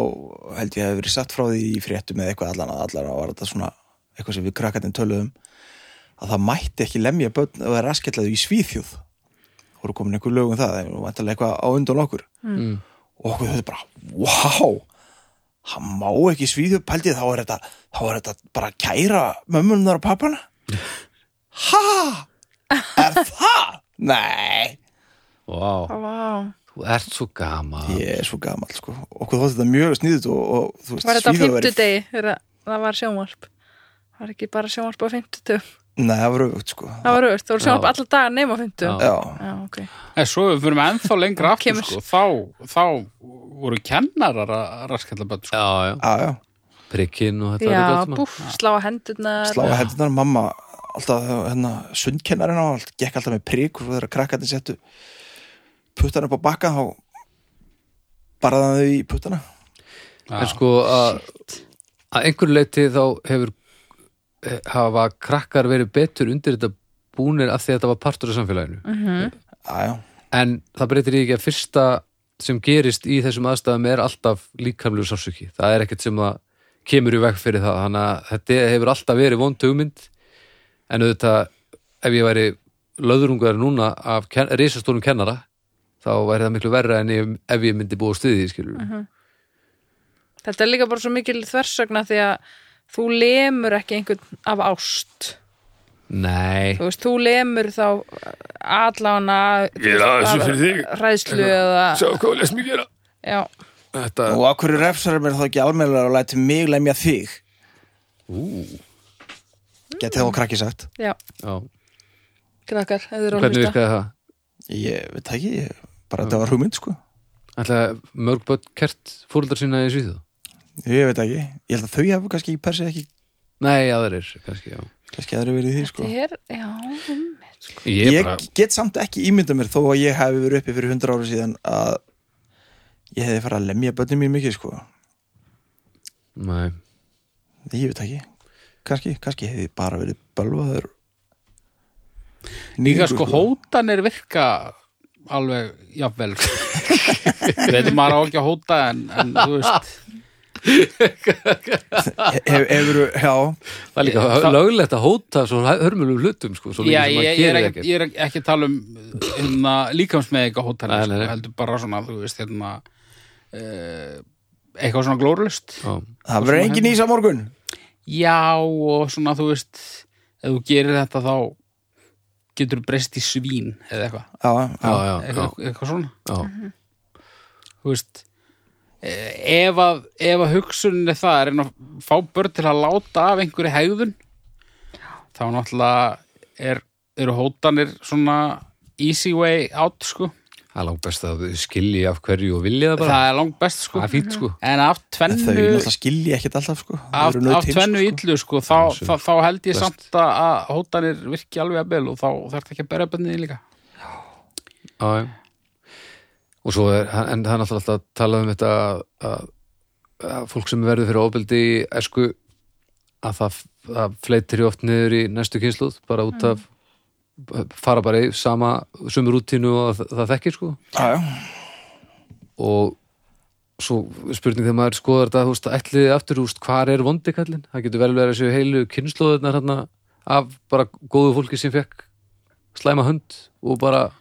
B: held ég að hef verið satt frá því í fréttum eða eitthvað allan að allan að var þetta svona eitthvað sem við krakkarnir töluðum að það mætti ekki lemja börn og það raskjallaðu í Svíþjóð voru komin einhver lög um það það var vantarlega eitthvað á undan okkur
A: Mm.
B: og okkur þetta bara, wow það má ekki í Svíþjóð pældið þá er þetta, þá er þetta bara að kæra mömmunar og pappana ha, er það? nei
A: Vá,
C: Vá.
A: þú ert svo gama
B: ég er svo gamal sko okkur þótti þetta mjög sniðut og, og þú veist,
C: Var þetta á
B: Svíþjóð væri-
C: fimmtudegi þegar það var sjónvarp? Var ekki bara sjónvarp á fimmtudum?
B: Nei, það var auðvögt sko
C: Það var auðvist, það voru sjónvarp
A: Já.
C: alla dagar nema á fimmtudum.
B: Já,
C: Já, ok.
D: En svo við fyrir ennþá lengra aftur
C: Kemur.
D: sko, þá, þá voru kennarar að raskalla börn sko.
A: Já, já,
B: já, já,
A: prikkin og þetta
C: Já,
A: þetta allt saman.
C: búf, slá að hendurnar.
B: slá að hendunar mamma alltaf, hérna, sundkennarinn á allt, gekk alltaf með prik og svo þegar krakkarnir settu puttana upp á bakka þá barðan þau í puttana
A: En sko að að einhverju leiti þá hefur eh, hafa krakkar verið betur undir þetta búnir af því að þetta var partur af samfélaginu
B: Já, já,
A: en það breytir því ekki að fyrsta sem gerist í þessum aðstæðum er alltaf líkamlegu sársöki, það er ekkert sem það kemur í veg fyrir það þannig að þetta hefur alltaf verið vond hugmynd en auðvitað ef ég væri löðrungar núna af ken risastórum kennara þá væri það miklu verra en ég, ef ég myndi búa stuðið, skilur mm
C: Þetta er líka bara svo mikil þversögna því að þú lemur ekki einhvern af ást.
A: Nei,
C: Þú veist, þú lemur þá allana ræðslu eða,
A: hvað les mér gera
C: já,
A: Þetta,
B: og af hverju refsar mér þá ekki almennlega og lætur mig lemja þig Ú Getið þá krakki sagt
C: já,
A: já,
C: krakkar, eða eru að
A: hvernig
C: hlusta.
A: virkaði það?
B: Ég veit það ekki, ég, bara þetta var hugmynd sko
A: Ætla mörg börn kert fóruldar sína í Svíþjóð?
B: Ég veit það ekki, ég held að þau hafa kannski persið ekki,
A: Nei, aðrir, kannski, já
B: kannski aðri verið í því sko
C: Þetta er, já, einmitt, sko.
A: Ég,
B: ég
A: bara,
B: get samt ekki ímynda mér þó að ég hefði verið uppi fyrir 100 ára síðan að ég hefði farið að lemja börnum mér mikið sko
A: nei
B: ég veit ekki, kannski, kannski hefði ég bara verið bölvaður Nýgu
D: Líka sko hótanir virka alveg
A: <laughs>
D: jafnvel sko. Veitum maður á ekki að hóta en, en þú veist
B: hef, hefur, Já,
A: Það er líka
D: Það-
A: löglegt að hóta svo hörmulum hlutum sko, svo lengi
D: Já,
A: sem
D: ég,
A: maður
D: ég, er
A: gerir
D: ekki,
A: ekkert
D: ég er ekki- ekki að tala um hérna, líkamsmeðika hótanir
A: Nei, nei,
D: sko,
A: nei.
D: heldur bara svona þú veist hérna, eh, eitthvað svona glórlust
A: Já.
B: það verður engin ís á morgun
D: Já og svona þú veist ef þú gerir þetta þá getur þú breyst í svín eða eitthvað
B: Já,
A: Já,
B: já,
A: já, já,
D: eitthvað, eitthvað svona
A: já,
D: þú veist eh, ef að, ef að hugsunin er það að reyna að fá börn til að láta af einhverju hegðun þá náttúrulega er, eru hótanir svona easy way out sko
A: Það er langt best að þau skilji af hverju og vilja það bara
D: það er langt best sko
A: Það er fínt sko
D: en af
B: en
D: tvennu
B: þau náttúrulega skilja ekkert alltaf sko Þau
D: af,
B: eru nauðtengd,
D: af tvennu
B: sko.
D: illu sko þá,
A: Já,
D: þá, þá held ég
A: best.
D: samt að að hótanir virki alveg að bel og þá þarf ekki að bera bennið líka
A: Já, já Og svo er, en það er náttúrulega alltaf að tala um þetta að, að fólk sem verður fyrir ofbeldi í esku að það, það fleitir í oft niður í næstu kynsluð, bara út af
D: Mhm.
A: fara bara í sama sömu rútínu og það, það þekkir sko
B: Já, já,
A: og svo spurning þegar maður skoðar þetta, þú veist, ætliði aftur, þú veist, hvar er vondi kallinn? Það getur vel verið að séu heilu kynnslóðurnar hérna af bara góðu fólki sem fekk slæma hönd og bara,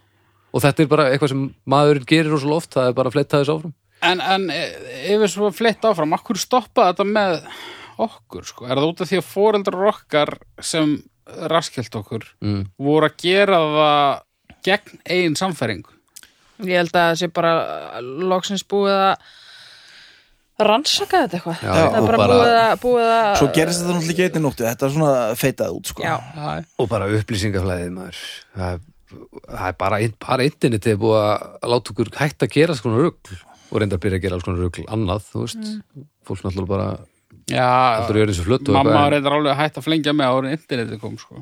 A: og þetta er bara eitthvað sem maðurinn gerir og svo oft, það er bara að fletta þessu áfram.
D: En, en e- ef við svo flytt áfram, akkur stoppa þetta með okkur, sko? Er það út af því að foreldrar okkar sem raskjöld okkur
A: Mm.
D: voru að gera það gegn eigin samfæringu?
C: Ég held að það sé bara loksins búið að rannsaka þetta eitthvað.
A: Já,
C: það
B: og
C: er bara,
A: bara-
C: búið að, búið að
B: svo gerist þetta náttúrulega ekki einni nóttu þetta er svona feitað út sko
C: Já.
D: Já,
A: Og bara upplýsingaflæðið maður, það, er- það er bara, bara internetið er búið að láta okkur hægt að gera alls konar rugl og reynda að byrja að gera alls konar rugl annað, þú veist, fólk náttúrulega bara, heldur að
D: Já
A: gjöra þessu flötu og
D: mamma
A: eitthvað, en-
D: reyndar alveg að hætta að flengja með árið internetið kom, sko.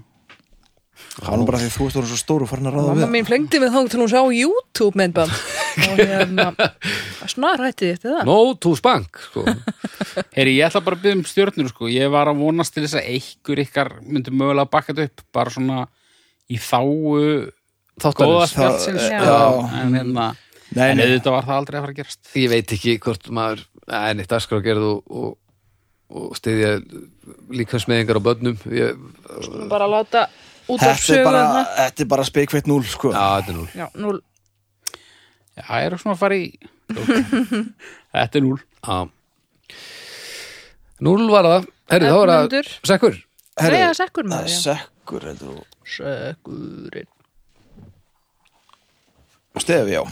B: það er nú bara því að þú ert orðin svo stór og farin að ráða við
C: Mamma
B: það.
C: mín flengdi mig þá til hún sá YouTube myndband og hérna snar hætti þetta það.
A: No to spank, sko. <laughs>
D: Heyri, ég ætla bara að byggja um stjörnur, sko. Ég var að vonast til þess að einhver ykkar myndi mögulega að bakka þetta upp, bara svona í þáu góða
A: Þáttarins.
B: Já.
D: spjallsins, sko. En, hérna,
B: Nei,
D: en
B: nei,
D: auðvitað var það aldrei að fara að gerast.
A: Ég veit ekki hvort maður eh, Nei, neitt askrágerð og, og, og stiðja líkansmeðingar á börnum ég,
C: bara láta út af
B: Þetta er
C: sögum
B: bara,
C: þarna.
B: þetta er bara speikveitt núl, sko.
A: Já, þetta er núl
C: já, núl
D: Já, ég er svona að fara í Þetta er núl
A: Já. Núl var það Herri, þá var það
C: Erlendur.
A: Sekkur
B: Herri,
C: Nei, það er sekkur
B: Það er
C: maður, já.
B: sekkur, heldur þú.
D: Sökurinn
B: Stefi, já.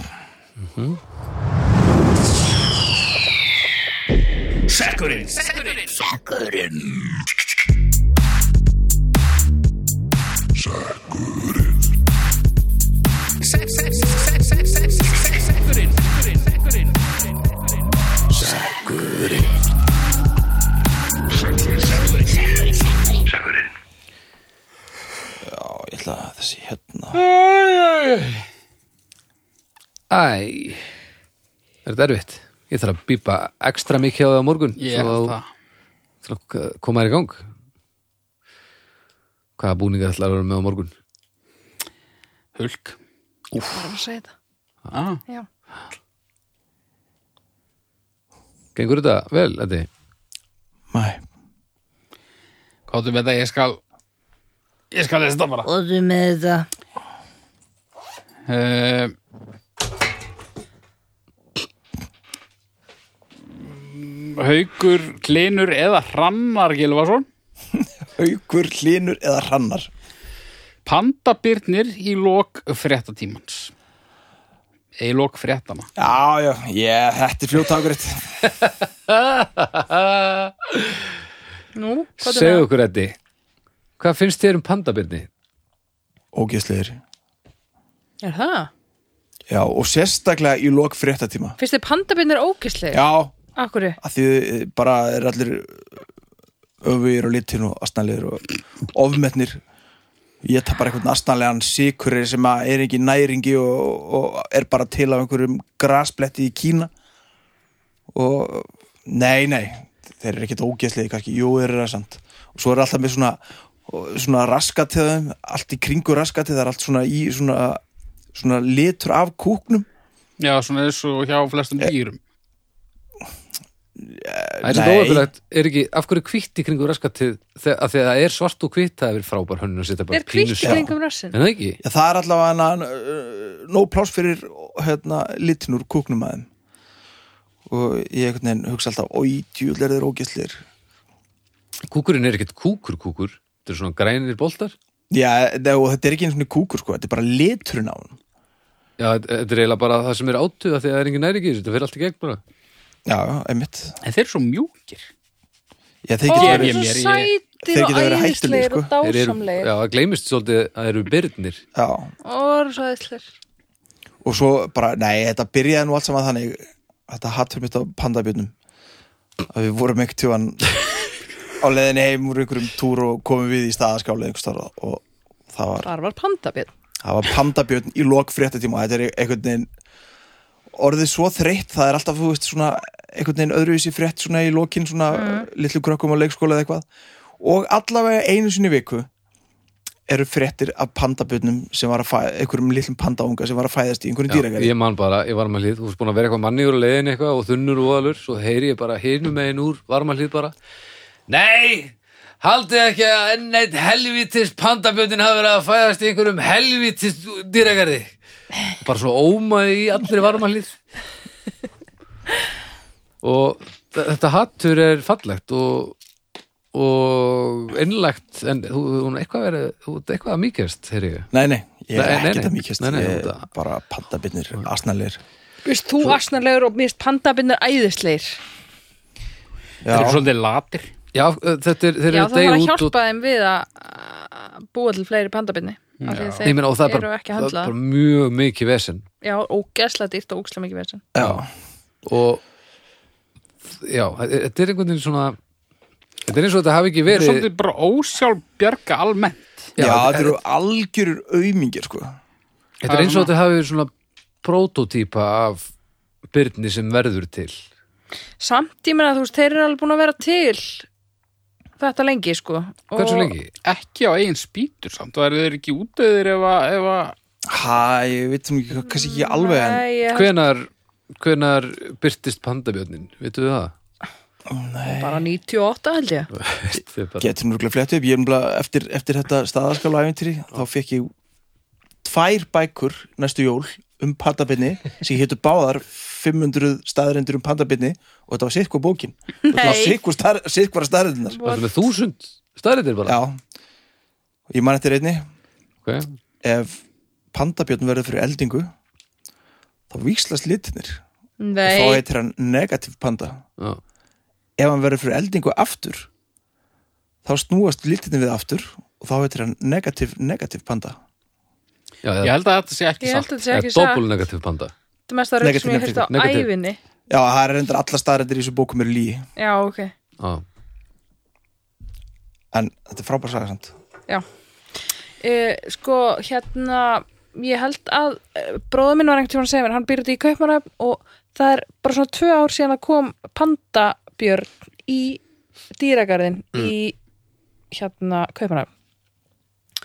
B: Já, ég ætla að þessi hérna.
A: Æ Er þetta erfitt? Ég þarf að býpa ekstra mikið á það á morgun
D: Ég er
A: svo
D: það
A: að- til að k- koma þér í gang Hvaða búninga ætlar að vera með á morgun?
D: Hulk
C: Ég var að segja þetta.
D: ah,
C: Já.
A: Gengur þetta vel, Eddi?
B: Mæ,
D: Káttu með það, ég skal Ég skal lesa þetta bara
C: og þú með þetta
D: uh, Haukur, Klinur eða Hrannar Gilvason
B: haukur, hlínur eða hrannar.
D: Pandabirnir í lok fréttatímans Eða í lok fréttana
B: Já, já, ég, þetta er fljóttakuritt.
C: nú, hvað er
A: Segðu
C: það?
A: okkur, Eddi Hvað finnst þér um pandabirni?
B: Ógeðslegir.
C: er það?
B: Já, og sérstaklega í lok fréttatíma.
C: finnst þið pandabirnir ógislega?
B: Já,
C: akkurri,
B: að því eh, bara er allir öfugir og litin og astnalegur og ofmetnir ég tapar eitthvað astnalegan síkurir sem að er ekki í næringi og, og er bara til af einhverjum grasbletti í Kína og nei, nei þeir eru ekkert ógeðslega kannski, jú, þeir eru það samt og svo er alltaf með svona svona raskat til þeim, allt í kringu raskat það er allt svona í svona, svona litur af kúknum
D: Já, svona eins og hjá flestum dýrum
A: Það er svolítið óöfnilegt, er ekki, af hverju kvitt í kringu raskatið, af því að það er svart og kvitt, það er frábær hönnun að setja bara
C: er kvítt
A: pínu-
C: kringum rassin
A: En það ekki?
B: Já, það er allavega hana, nóg pláss fyrir hérna, litin úr kúknum aðeim og ég einhvern veginn hugsa alltaf oi, djúl er þeir ógæslir
A: Kúkurinn er ekkert kúkur kúkur, þetta er svona grænir boltar.
B: Já, nei, og þetta er ekki einu svona kúkur sko, þetta er bara liturinn á hann
A: Já, þetta þetta er eiginlega bara það sem er átuð af því að það er engin næringi, þetta fyrir allt í gegn bara.
B: Já, já, einmitt
D: En þeir eru svo mjúkir
B: Já, þeir geta
C: ó,
D: Ég-
C: það
B: verið
D: ég-
C: er
D: mér-
C: svo sætir
B: Þeir
C: og
B: geta verið hættulegir,
C: æðislegir
B: sko.
C: og
A: Þeir eru-
C: dásamlegir
A: Já, það gleymist svolítið að það eru byrnir.
B: Já,
C: og svo æðislegir
B: og svo bara, nei, þetta byrjaði nú allt saman þannig þetta hattur mitt á pandabjörnum að við vorum ekkert tjóðan á leiðinni heim úr einhverjum túr og komum við í staðaskáli einhvers staðar og það var
C: þar var pandabjörn
B: það var pandabjörn í lok fréttatíma þetta er einhvern veginn orðið svo þreytt, það er alltaf þú veist, svona, einhvern veginn öðruvísi frétt svona í lokin svona litlu krökkum á leikskóla eða eitthvað og allavega einu sinni í viku eru fréttir af pandabjörnum sem var að fæða, einhverjum litlum pandaunga sem var að fæðast í einhverjum dýragarði
A: Ég man bara, ég var maður hlýð, þú veist búin að vera eitthvað manni úr leiðin eitthvað og þunnur og alur, svo heyri ég bara hinum megin úr, var maður hlýð bara. Nei! Haldið ekki að enn eitt helvitis pandabjöndin hafi verið að fæðast í einhverjum helvitis dýragarði. Bara svo ómaði í allir varmalið. Og þ- þetta hattur er fallegt og, og innlegt, en þú, hún er eitthvað verið, þú ert eitthvað að mýkjast, heyri ég.
B: Nei, nei, ég er
A: Nei, nei,
B: ekkert
A: nei.
B: að mikist
A: Nei, nei,
B: ég er
A: þetta-
B: bara pandabjörnir, asnalegir
C: Vist þú asnarlegur og mist pandabirnir æðislegir
D: Þeir
B: Já,
D: eru svolítið latir
A: Já, þetta er, þeir
C: Já,
A: eru
C: það var
A: degi
C: að
A: út og
C: hjálpa þeim við að að búa til fleiri pandabirni
A: Ég meina, og það er
C: eru
A: bara,
C: ekki
A: það er
C: handlað
A: bara mjög mikið vesen
C: Já, ógeðslega dýrt og ógeðslega mikið verðsinn
B: já,
A: og já, e- þetta er einhvern veginn svona þetta er eins og þetta hafi ekki
D: Þeir eru
A: verið
D: svolítið bara ósjálfbjarga almennt
B: já,
A: þetta-
B: þetta eru algjörur aumingir sko
A: þetta er eins og þetta hafi verið svona prototípa af byrni sem verður til
C: Samt ég meina, þú veist, þeir eru alveg búin að vera til þetta lengi, sko og
A: hversu lengi?
D: Ekki á eigin spýtur samt Það eru þeir ekki útöðir ef að, ef að
B: Hæ, ég veit sem ekki, kannski ekki alveg en
C: Nei, ég,
A: Hvenar hvenar byrtist pandabjörnin, veitum við það?
E: bara 98 held ég
A: Þetta er bara-
B: getur mjögulega flett upp ég er umlega eftir, eftir þetta staðarskála ævintri þá fekk ég tvær bækur næstu jól um pandabinni sem hétu báðar 500 staðarindur um pandabinni og þetta var sittkvað bókin og þetta var
E: Nei.
B: sittkvað star, sittkvara staðarindunar
A: Það er með þúsund staðritir bara
B: já, og ég man eftir einni
A: Ok.
B: ef pandabjörn verður fyrir eldingu þá víslast litinir og þá
E: Nei,
B: heitir hann negativ panda
A: Já.
B: ef hann verður fyrir eldingu aftur þá snúast litinni við aftur og þá heitir hann negativ negativ panda
A: Já,
D: Ég
A: eða,
D: held að þetta sé ekki
C: Ég held
D: satt
C: að þetta sé
A: eða
C: ekki
A: doppul
C: satt
A: negativ panda
C: Þetta er mest að rögg sem ég
B: Negative,
C: hefði á
A: negative.
C: ævinni
B: já, það er reyndar alla staðarendir í þessu bókum er lí
C: Já, ok
A: Já,
B: en þetta er frábær saga samt
C: Uh, sko, hérna ég held að uh, bróður minn var einhvern tímann að segja mér, hann býr út í Kaupmanöfn og það er bara svona tvö ár síðan að kom pandabjörn í dýragarðin í hérna Kaupmanöfn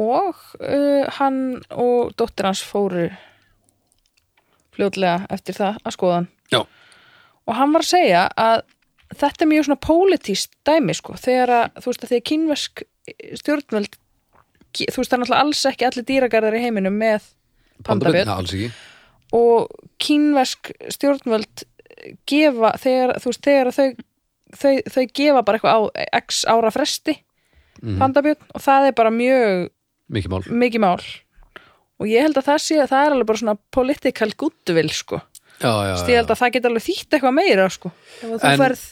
C: og uh, hann og dóttir hans fóru fljótlega eftir það að skoða hann
A: Já.
C: og hann var að segja að þetta er mjög svona pólitíst dæmi sko, þegar að, þú veist að þegar kínversk stjórnvöld ge- þú veist það er náttúrulega alls ekki allir dýragarðar í heiminum með
A: pandabjörn,
C: pandabjörn
A: já, alls ekki
C: og kínversk stjórnvöld gefa þegar, þú veist, þegar þau, þau, þau gefa bara eitthvað á x ára fresti
A: Mhm.
C: pandabjörn og það er bara mjög
A: Mm, Mikið mál
C: mikið mál og ég held að það sé að það er alveg bara svona political goodwill sko
A: Já, já,
C: Þú veist, ég
A: já,
C: held að það geta alveg þýtt eitthvað meira sko. ef að þú
A: En-
C: færð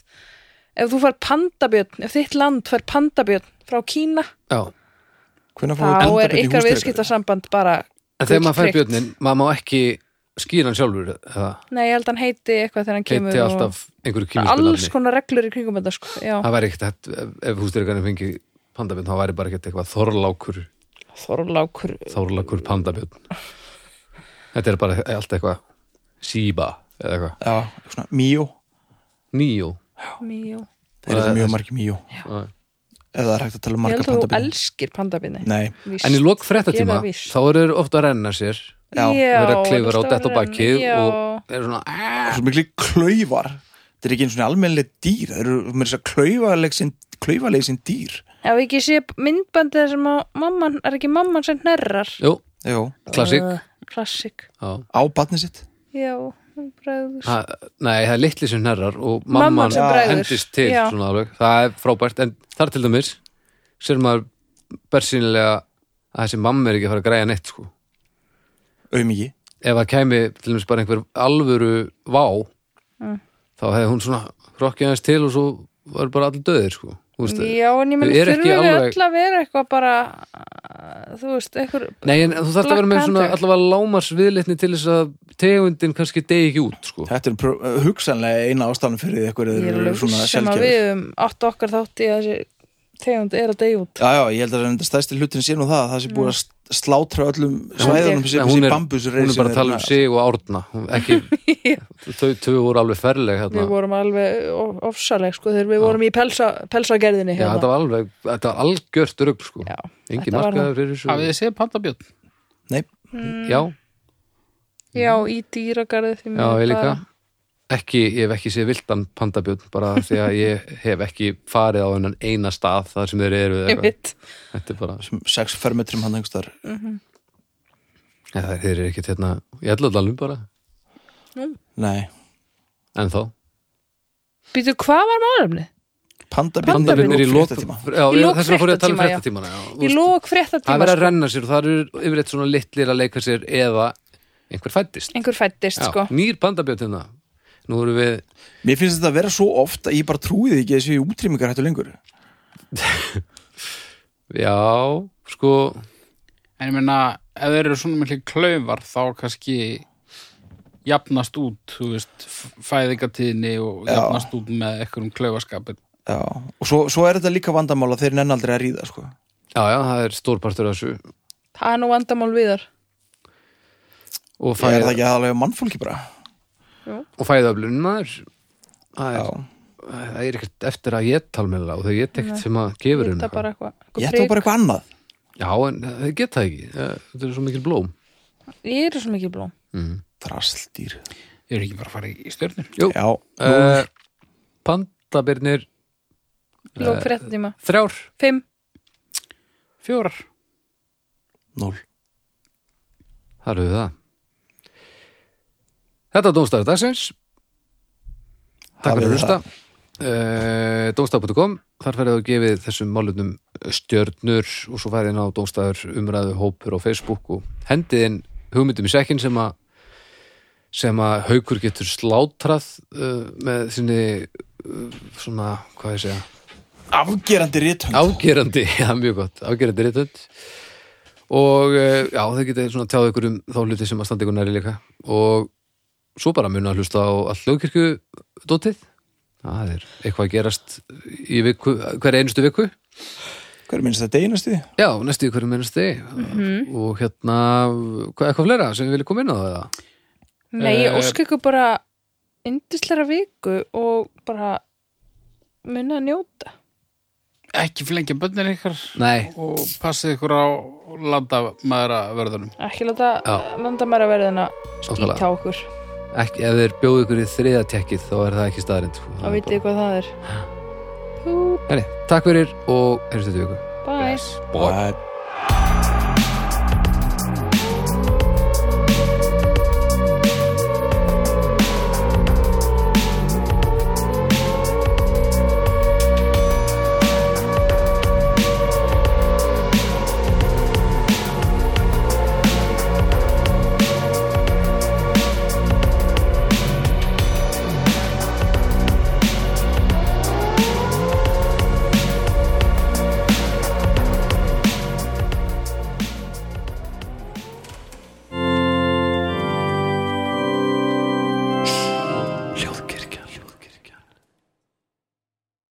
C: ef þú færð pandabjörn, ef þitt land færð pandabjörn frá Kína,
A: já.
B: hvernig fóðu
C: þá er
B: pandabjörn í
C: ykkar
B: húsdýragarð
C: viðskiptasamband bara,
A: En þegar maður fær
C: Gulltryggt.
A: björnin, maður má ekki skýra hann sjálfur eða
C: nei, ég held að hann heiti eitthvað þegar hann kemur
A: keiti alltaf einhverju
C: og
A: kýmisku
C: alls
A: nafni
C: konar reglur í kringum þetta sko. já,
A: Það væri ekkert, hægt- ef, ef hústyrkarnir fengi pandabjörn, þá væri bara ekkert eitthvað þorlákur
C: þorlákur
A: þorlákur pandabjörn Þetta er bara allt eitthvað síba eða eitthvað,
B: já, svona mjó
A: nýjó
C: mjó,
B: það
A: Það er
B: er mjög
A: þessi-
B: margir mjó
A: Já.
B: ef það er hægt að tala um
C: ég
B: marga
C: held að þú
B: pandabjörn
C: elskir pandabjörni
B: nei,
A: En í lok fréttatíma,
C: Gefa víst.
A: þá eru þeir ofta að renna sér
B: já,
A: og eru að klifra á detta á bakið og eru svona
B: svo miklu klaufar þetta er ekki einu svona almennilegt dýr það eru mér þess að klaufaleg sem, klaufaleg sem dýr
C: ef ekki sé myndbandið sem að mamman, er ekki mamman sem nærrar
A: Jú,
B: Jó,
A: klassík
C: klassik,
A: Já.
B: á batnið sitt
C: já hún bregður
A: Ha, nei, það er litli sem herrar og
C: Mamman
A: mamman
C: sem bregður.
A: hendist til
C: Já.
A: svona alveg, það er frábært en þar til dæmis sér maður bersýnilega að þessi mamma er ekki að fara að græja neitt sko.
B: auðmiki
A: ef það kæmi til dæmis bara einhver alvöru vá
C: Mm.
A: þá hefði hún svona rokkið hans til og svo var bara allir döðir sko. Þú veist,
C: Já, en ég menn
A: Þau eru
C: þurfum
A: ekki
C: við
A: alveg-
C: öll að vera eitthvað bara uh, þú veist, einhver
A: Nei, en þú þarft að
C: Black
A: vera með svona
C: Panther.
A: allavega lámars viðlitni til þess að tegundin kannski degi ekki út sko.
B: Þetta er pró- uh, hugsanlega eina ástæðan fyrir því eitthvað
C: ég er
B: eru
C: alveg
B: svona
C: viss sem að
B: selgjöfur
C: við um átt okkar þátt í að þessi tegund er að deyja út
B: Já, já, ég held að þetta stærsti hlutin sé nú það að það sé búið að sl- slátra öllum svæðunum
A: Nei,
B: sem
A: hún,
B: þessi hérna.
A: er,
B: bambusreis
A: hún er bara að tala um sig og árna Hún- ekki, þau tvö voru alveg ferleg hérna.
C: við vorum alveg o- ofsaleg sko þegar við vorum í pelsa, pelsagerðinni
A: Já, þetta
C: hérna.
A: var alveg, þetta var algjört rugg sko.
C: Já,
A: Engin
C: þetta var
A: markaður fyrir þessu
D: Hafið þið séð pandabjörn?
B: Nei,
A: Já,
C: já, í dýragarði því
A: Mm, já,
C: miður
A: ég líka
C: bara-
A: ekki, Ég hef ekki séð vildan pandabjörn bara því að ég hef ekki farið á hennan eina stað þar sem þeir eru eða eitthvað.
C: einmitt,
A: Þetta er bara,
B: sem sex fermetrum hann einhvers þar
A: ja, þeir eru ekkit hérna Ég ætla að dalum bara,
B: Nei,
A: en þá
C: býtu hvað var málefni?
B: pandabjörn
A: Pandabjörn er í lok
B: fréttatíma.
A: Já,
C: Í
A: ég-
C: lok
A: þess vegna fór ég að tala um
C: fréttatíma, já.
A: fréttatímana já, þú
C: í
A: veist,
C: lok
A: Það er
C: fréttatíma
A: verið að
C: sko,
A: renna sér og það eru yfirleitt svona litlir að leika sér eða einhver fættist
C: einhver fættist
A: Já,
C: sko
A: Nýr pandabjörn hérna Nú erum við
B: Mér finnst þetta að vera svo oft að ég bara trúið ekki þessi útrýmingar hættu lengur
A: Já, sko
D: En ég meina, ef þeir eru svona miklu klaufar þá kannski jafnast út, þú veist fæðingatíðinni og
B: Já.
D: jafnast út með einhverjum klaufaskapin
B: Já, og svo, svo er þetta líka vandamála þeir nenn aldrei að ríða, sko
A: Já, já, það er stórpartur af þessu
C: það er nú vandamál viðar
A: og,
B: Það er það
A: fæð,
B: ekki aðalega mannfólki bara
A: og fæðaflun maður það er,
B: Já.
A: það er ekkert eftir að ég tala með það og þau ég tekt sem að gefur
C: þetta
A: henni
C: bara eitthvað eitthvað
B: Ég ætla
C: prik.
B: bara eitthvað annað
A: Já, en þau geta það ekki Eh, þetta er svo mikil blóm
C: ég er svo mikið blóm
B: Drastldýr
D: Ég er ekki bara að fara í stjörnum
A: Jú,
B: Já,
A: uh, pandabirnir
C: Lók fyrir þetta tíma.
A: þrjár
C: Fimm.
D: Fjórar
B: núl
A: Þar höfðu það. Þetta er Dómstæður dagsins. Takk fyrir að
B: Hafið
A: hlusta. Uh, Dómstæður.com Þar færðu að gefið þessum málunum stjörnur og svo færið inn á Dómstæður umræðu hópur á Facebook og hendið inn hugmyndum í sekkin sem að sem að haukur getur slátrað uh, með sinni uh, svona, hvað ég segja
B: Afgerandi rithönd
A: Afgerandi, <laughs> já, mjög gott, afgerandi rithönd og eh, já, þau geta svona tjáð ykkur um þá hluti sem að standa ykkur næri líka og svo bara muna að hlusta á all hljóðkirkju dótið það er eitthvað að gerast í viku, hverja einustu viku
B: Hver minnst þetta einast því?
A: já, næstu í hverju mennast þið og hérna, hvað, eitthvað fleira sem við viljum koma inn á það
C: Nei, ég
D: Eh,
C: óska ykkur bara yndislega viku og bara munið að njóta.
D: Ekki flengja bönnin ykkar
A: nei,
D: og passið ykkur á landamæðraverðunum
C: Ekki láta
A: Já.
C: landa maður að verða en að
A: Nákvæmlega.
C: skýta á okkur
A: ekki, ef þeir bjóðu ykkur í þriðatekkið þá er það ekki staðarind sko. Það
C: og
A: er
C: vitið þið
A: bara-
C: hvað það er. Jú,
A: Herri, Takk fyrir og heyrstu þetta viku
C: Bye.
B: Bæ